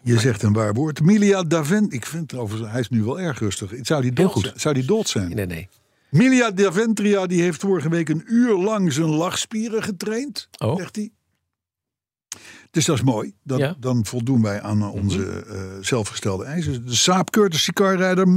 Speaker 2: Je zegt een waar woord. Milia Davent, ik vind het overigens, hij is nu wel erg rustig. Zou die dood,
Speaker 3: goed.
Speaker 2: zijn? Zou die dood zijn?
Speaker 3: Nee, nee.
Speaker 2: Milia Daventria die heeft vorige week een uur lang zijn lachspieren getraind,
Speaker 3: Oh.
Speaker 2: zegt hij. Dus dat is mooi. Dat,
Speaker 3: Ja. Mhm.
Speaker 2: Dan voldoen wij aan eh, onze eh, zelfgestelde eisen. De Saab Curtis Cicarrijder,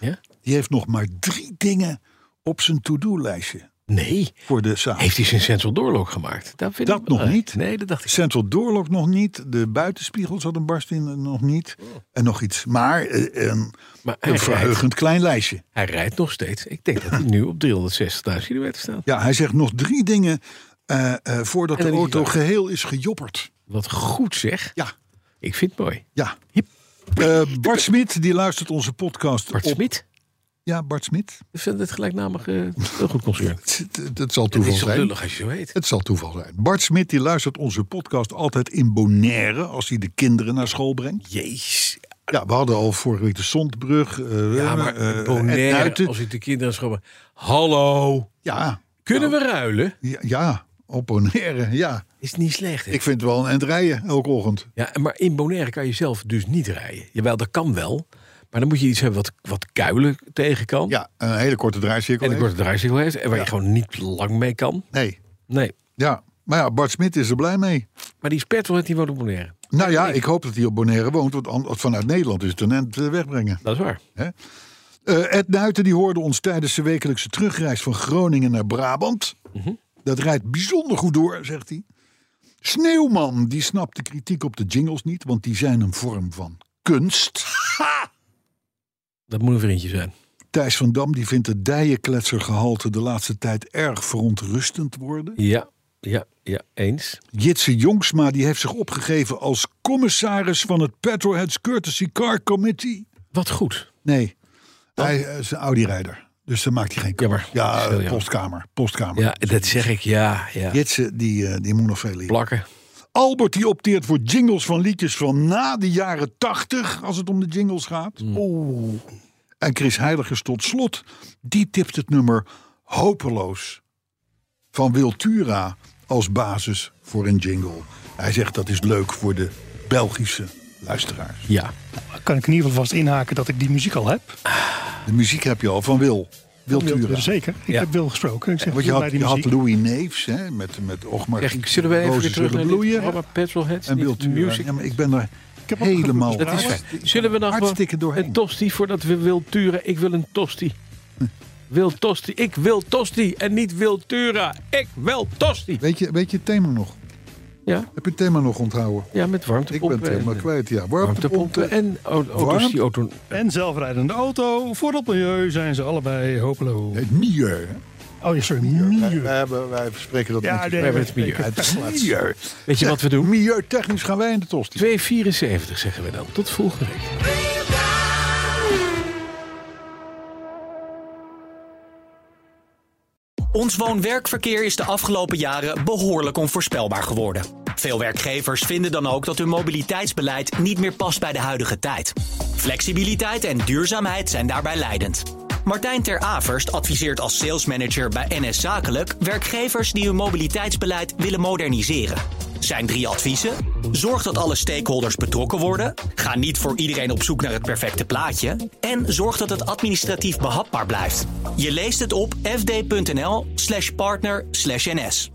Speaker 3: Ja?
Speaker 2: die heeft nog maar drie dingen op zijn to-do-lijstje
Speaker 3: Nee,
Speaker 2: voor de Saab.
Speaker 3: heeft hij zijn Central Doorlock gemaakt? Dat, vind
Speaker 2: Dat
Speaker 3: ik wel
Speaker 2: nog
Speaker 3: erg.
Speaker 2: niet.
Speaker 3: Nee, dat dacht ik.
Speaker 2: Central Doorlock nog niet. De buitenspiegel zat een barst in, eh, nog niet. En nog iets. Maar eh, een,
Speaker 3: Maar Oh. hij
Speaker 2: een
Speaker 3: rijdt,
Speaker 2: verheugend klein lijstje.
Speaker 3: hij rijdt nog steeds. Ik denk dat hij nu op 360.000 kilometer staat.
Speaker 2: Ja, hij zegt nog drie dingen eh, eh, voordat
Speaker 3: En
Speaker 2: de
Speaker 3: dan is
Speaker 2: auto
Speaker 3: hij
Speaker 2: geheel is gejopperd.
Speaker 3: Wat goed zeg.
Speaker 2: Ja,
Speaker 3: Ik vind het mooi.
Speaker 2: ja.
Speaker 3: Hip.
Speaker 2: Eh, Bart Smit, die luistert onze podcast.
Speaker 3: Bart
Speaker 2: op-
Speaker 3: Smit,
Speaker 2: Ja, Bart Smit.
Speaker 3: ik vind het gelijknamig eh, heel goed concern.
Speaker 2: Het- Het zal
Speaker 3: Het
Speaker 2: toeval
Speaker 3: is toch
Speaker 2: zijn.
Speaker 3: lullig als je zo weet.
Speaker 2: Het zal toeval zijn. Bart Smit die luistert onze podcast altijd in Bonaire als hij de kinderen naar school brengt.
Speaker 3: Jezus.
Speaker 2: Ja, we hadden al vorige week de Zondbrug. eh,
Speaker 3: Ja, maar
Speaker 2: eh, eh, Ed
Speaker 3: Bonaire,
Speaker 2: Nuiten.
Speaker 3: als ik de kinderen schoppen. Hallo,
Speaker 2: Ja,
Speaker 3: kunnen we ruilen?
Speaker 2: ja, ja, op Bonaire, ja.
Speaker 3: Is niet slecht. hè?
Speaker 2: Ik vind het wel een eind rijden elke ochtend.
Speaker 3: Ja, maar in Bonaire kan je zelf dus niet rijden. Jawel, dat kan wel. Maar dan moet je iets hebben wat, wat kuilen tegen kan.
Speaker 2: Ja, een hele korte draaicirkel.
Speaker 3: en een
Speaker 2: heeft.
Speaker 3: korte draaicirkel heeft. En waar je gewoon niet lang mee kan.
Speaker 2: Nee,
Speaker 3: Nee.
Speaker 2: ja. Maar ja, Bart Smit is er blij mee.
Speaker 3: Maar die Spertwet, die woont op Bonaire.
Speaker 2: Nou ja, ik hoop dat hij op Bonaire woont, want an- vanuit Nederland is het een end eh, wegbrengen.
Speaker 3: Dat is waar.
Speaker 2: Eh, Ed Nuiten die hoorde ons tijdens zijn wekelijkse terugreis van Groningen naar Brabant. Dat rijdt bijzonder goed door, zegt hij. Sneeuwman, die snapt de kritiek op de jingles niet, want die zijn een vorm van kunst.
Speaker 3: Dat moet een vriendje zijn.
Speaker 2: Thijs van Dam die vindt het dijenkletsergehalte de laatste tijd erg verontrustend worden.
Speaker 3: Ja, ja, ja, eens.
Speaker 2: Jitse Jongsma die heeft zich opgegeven als commissaris van het Petroheads Courtesy Car Committee.
Speaker 3: Wat goed.
Speaker 2: Nee. Hij eh, is een Audi-rijder. Dus dan maakt hij geen
Speaker 3: Jammer. Dat is
Speaker 2: Ja,
Speaker 3: heel
Speaker 2: eh,
Speaker 3: jammer.
Speaker 2: postkamer. Postkamer.
Speaker 3: Ja, dat zeg ik. Ja, ja.
Speaker 2: Jitsen, die, eh, die moet nog veel leren.
Speaker 3: Plakken.
Speaker 2: Albert die opteert voor jingles van liedjes van na de jaren 80, als het om de jingles gaat.
Speaker 4: Oeh.
Speaker 2: Oh. En Chris Heiligers tot slot, die tipt het nummer Hopeloos van Wiltura als basis voor een jingle. Hij zegt dat is leuk voor de Belgische luisteraars.
Speaker 3: Ja.
Speaker 4: Kan ik in ieder geval vast inhaken dat ik die muziek al heb.
Speaker 2: De muziek heb je al van Wil. Wiltura.
Speaker 4: Zeker. Ik
Speaker 3: Ja.
Speaker 4: heb Wil gesproken. Ik zeg,
Speaker 2: Want je
Speaker 4: wil
Speaker 2: had,
Speaker 4: bij
Speaker 2: je
Speaker 4: die
Speaker 2: had
Speaker 4: muziek.
Speaker 2: Louis Neefs hè, met, met Ogmar.
Speaker 3: Zeg, ik-
Speaker 2: Giet,
Speaker 3: zullen we even
Speaker 2: Rozen
Speaker 3: weer terug
Speaker 2: zullen
Speaker 3: naar dit
Speaker 2: bloeien.
Speaker 3: programma Petrolheads?
Speaker 2: en
Speaker 3: Niet
Speaker 2: Wiltura.
Speaker 3: Music.
Speaker 2: Ja, maar ik ben daar
Speaker 4: heb ook
Speaker 2: helemaal...
Speaker 4: gevoel-
Speaker 3: Dat is fijn. Zullen we nog wel
Speaker 2: Hartstikke doorheen.
Speaker 3: een tosti voordat we Wiltura... Ik wil een tosti. Wil tosti. Ik wil tosti. En niet Wiltura. Ik wil tosti.
Speaker 2: Weet je, weet je het thema nog?
Speaker 3: Ja.
Speaker 2: Heb je het thema nog onthouden?
Speaker 3: Ja, met warmte
Speaker 2: Ik ben het helemaal kwijt, ja. Warmtepompen.
Speaker 3: en au- auto's die auto...
Speaker 4: En zelfrijdende auto. Voor het milieu zijn ze allebei hopeloos.
Speaker 2: eh, Het mier. hè?
Speaker 4: Oh ja, sorry. Milieu.
Speaker 2: Wij, hebben, wij verspreken dat
Speaker 4: Ja,
Speaker 2: netjes.
Speaker 4: nee,
Speaker 3: We hebben
Speaker 4: nee,
Speaker 3: het bier.
Speaker 2: Het mier.
Speaker 3: Weet je wat we doen?
Speaker 2: Milieutechnisch gaan wij in de tosti.
Speaker 3: 2,74 zeggen we dan. Tot volgende week.
Speaker 7: Ons woon-werkverkeer is de afgelopen jaren behoorlijk onvoorspelbaar geworden. Veel werkgevers vinden dan ook dat hun mobiliteitsbeleid niet meer past bij de huidige tijd. Flexibiliteit en duurzaamheid zijn daarbij leidend. Martijn Ter Averst adviseert als salesmanager bij NS Zakelijk werkgevers die hun mobiliteitsbeleid willen moderniseren. Zijn drie adviezen? Zorg dat alle stakeholders betrokken worden. Ga niet voor iedereen op zoek naar het perfecte plaatje. En zorg dat het administratief behapbaar blijft. Je leest het op fd.nl/slash partner/ns.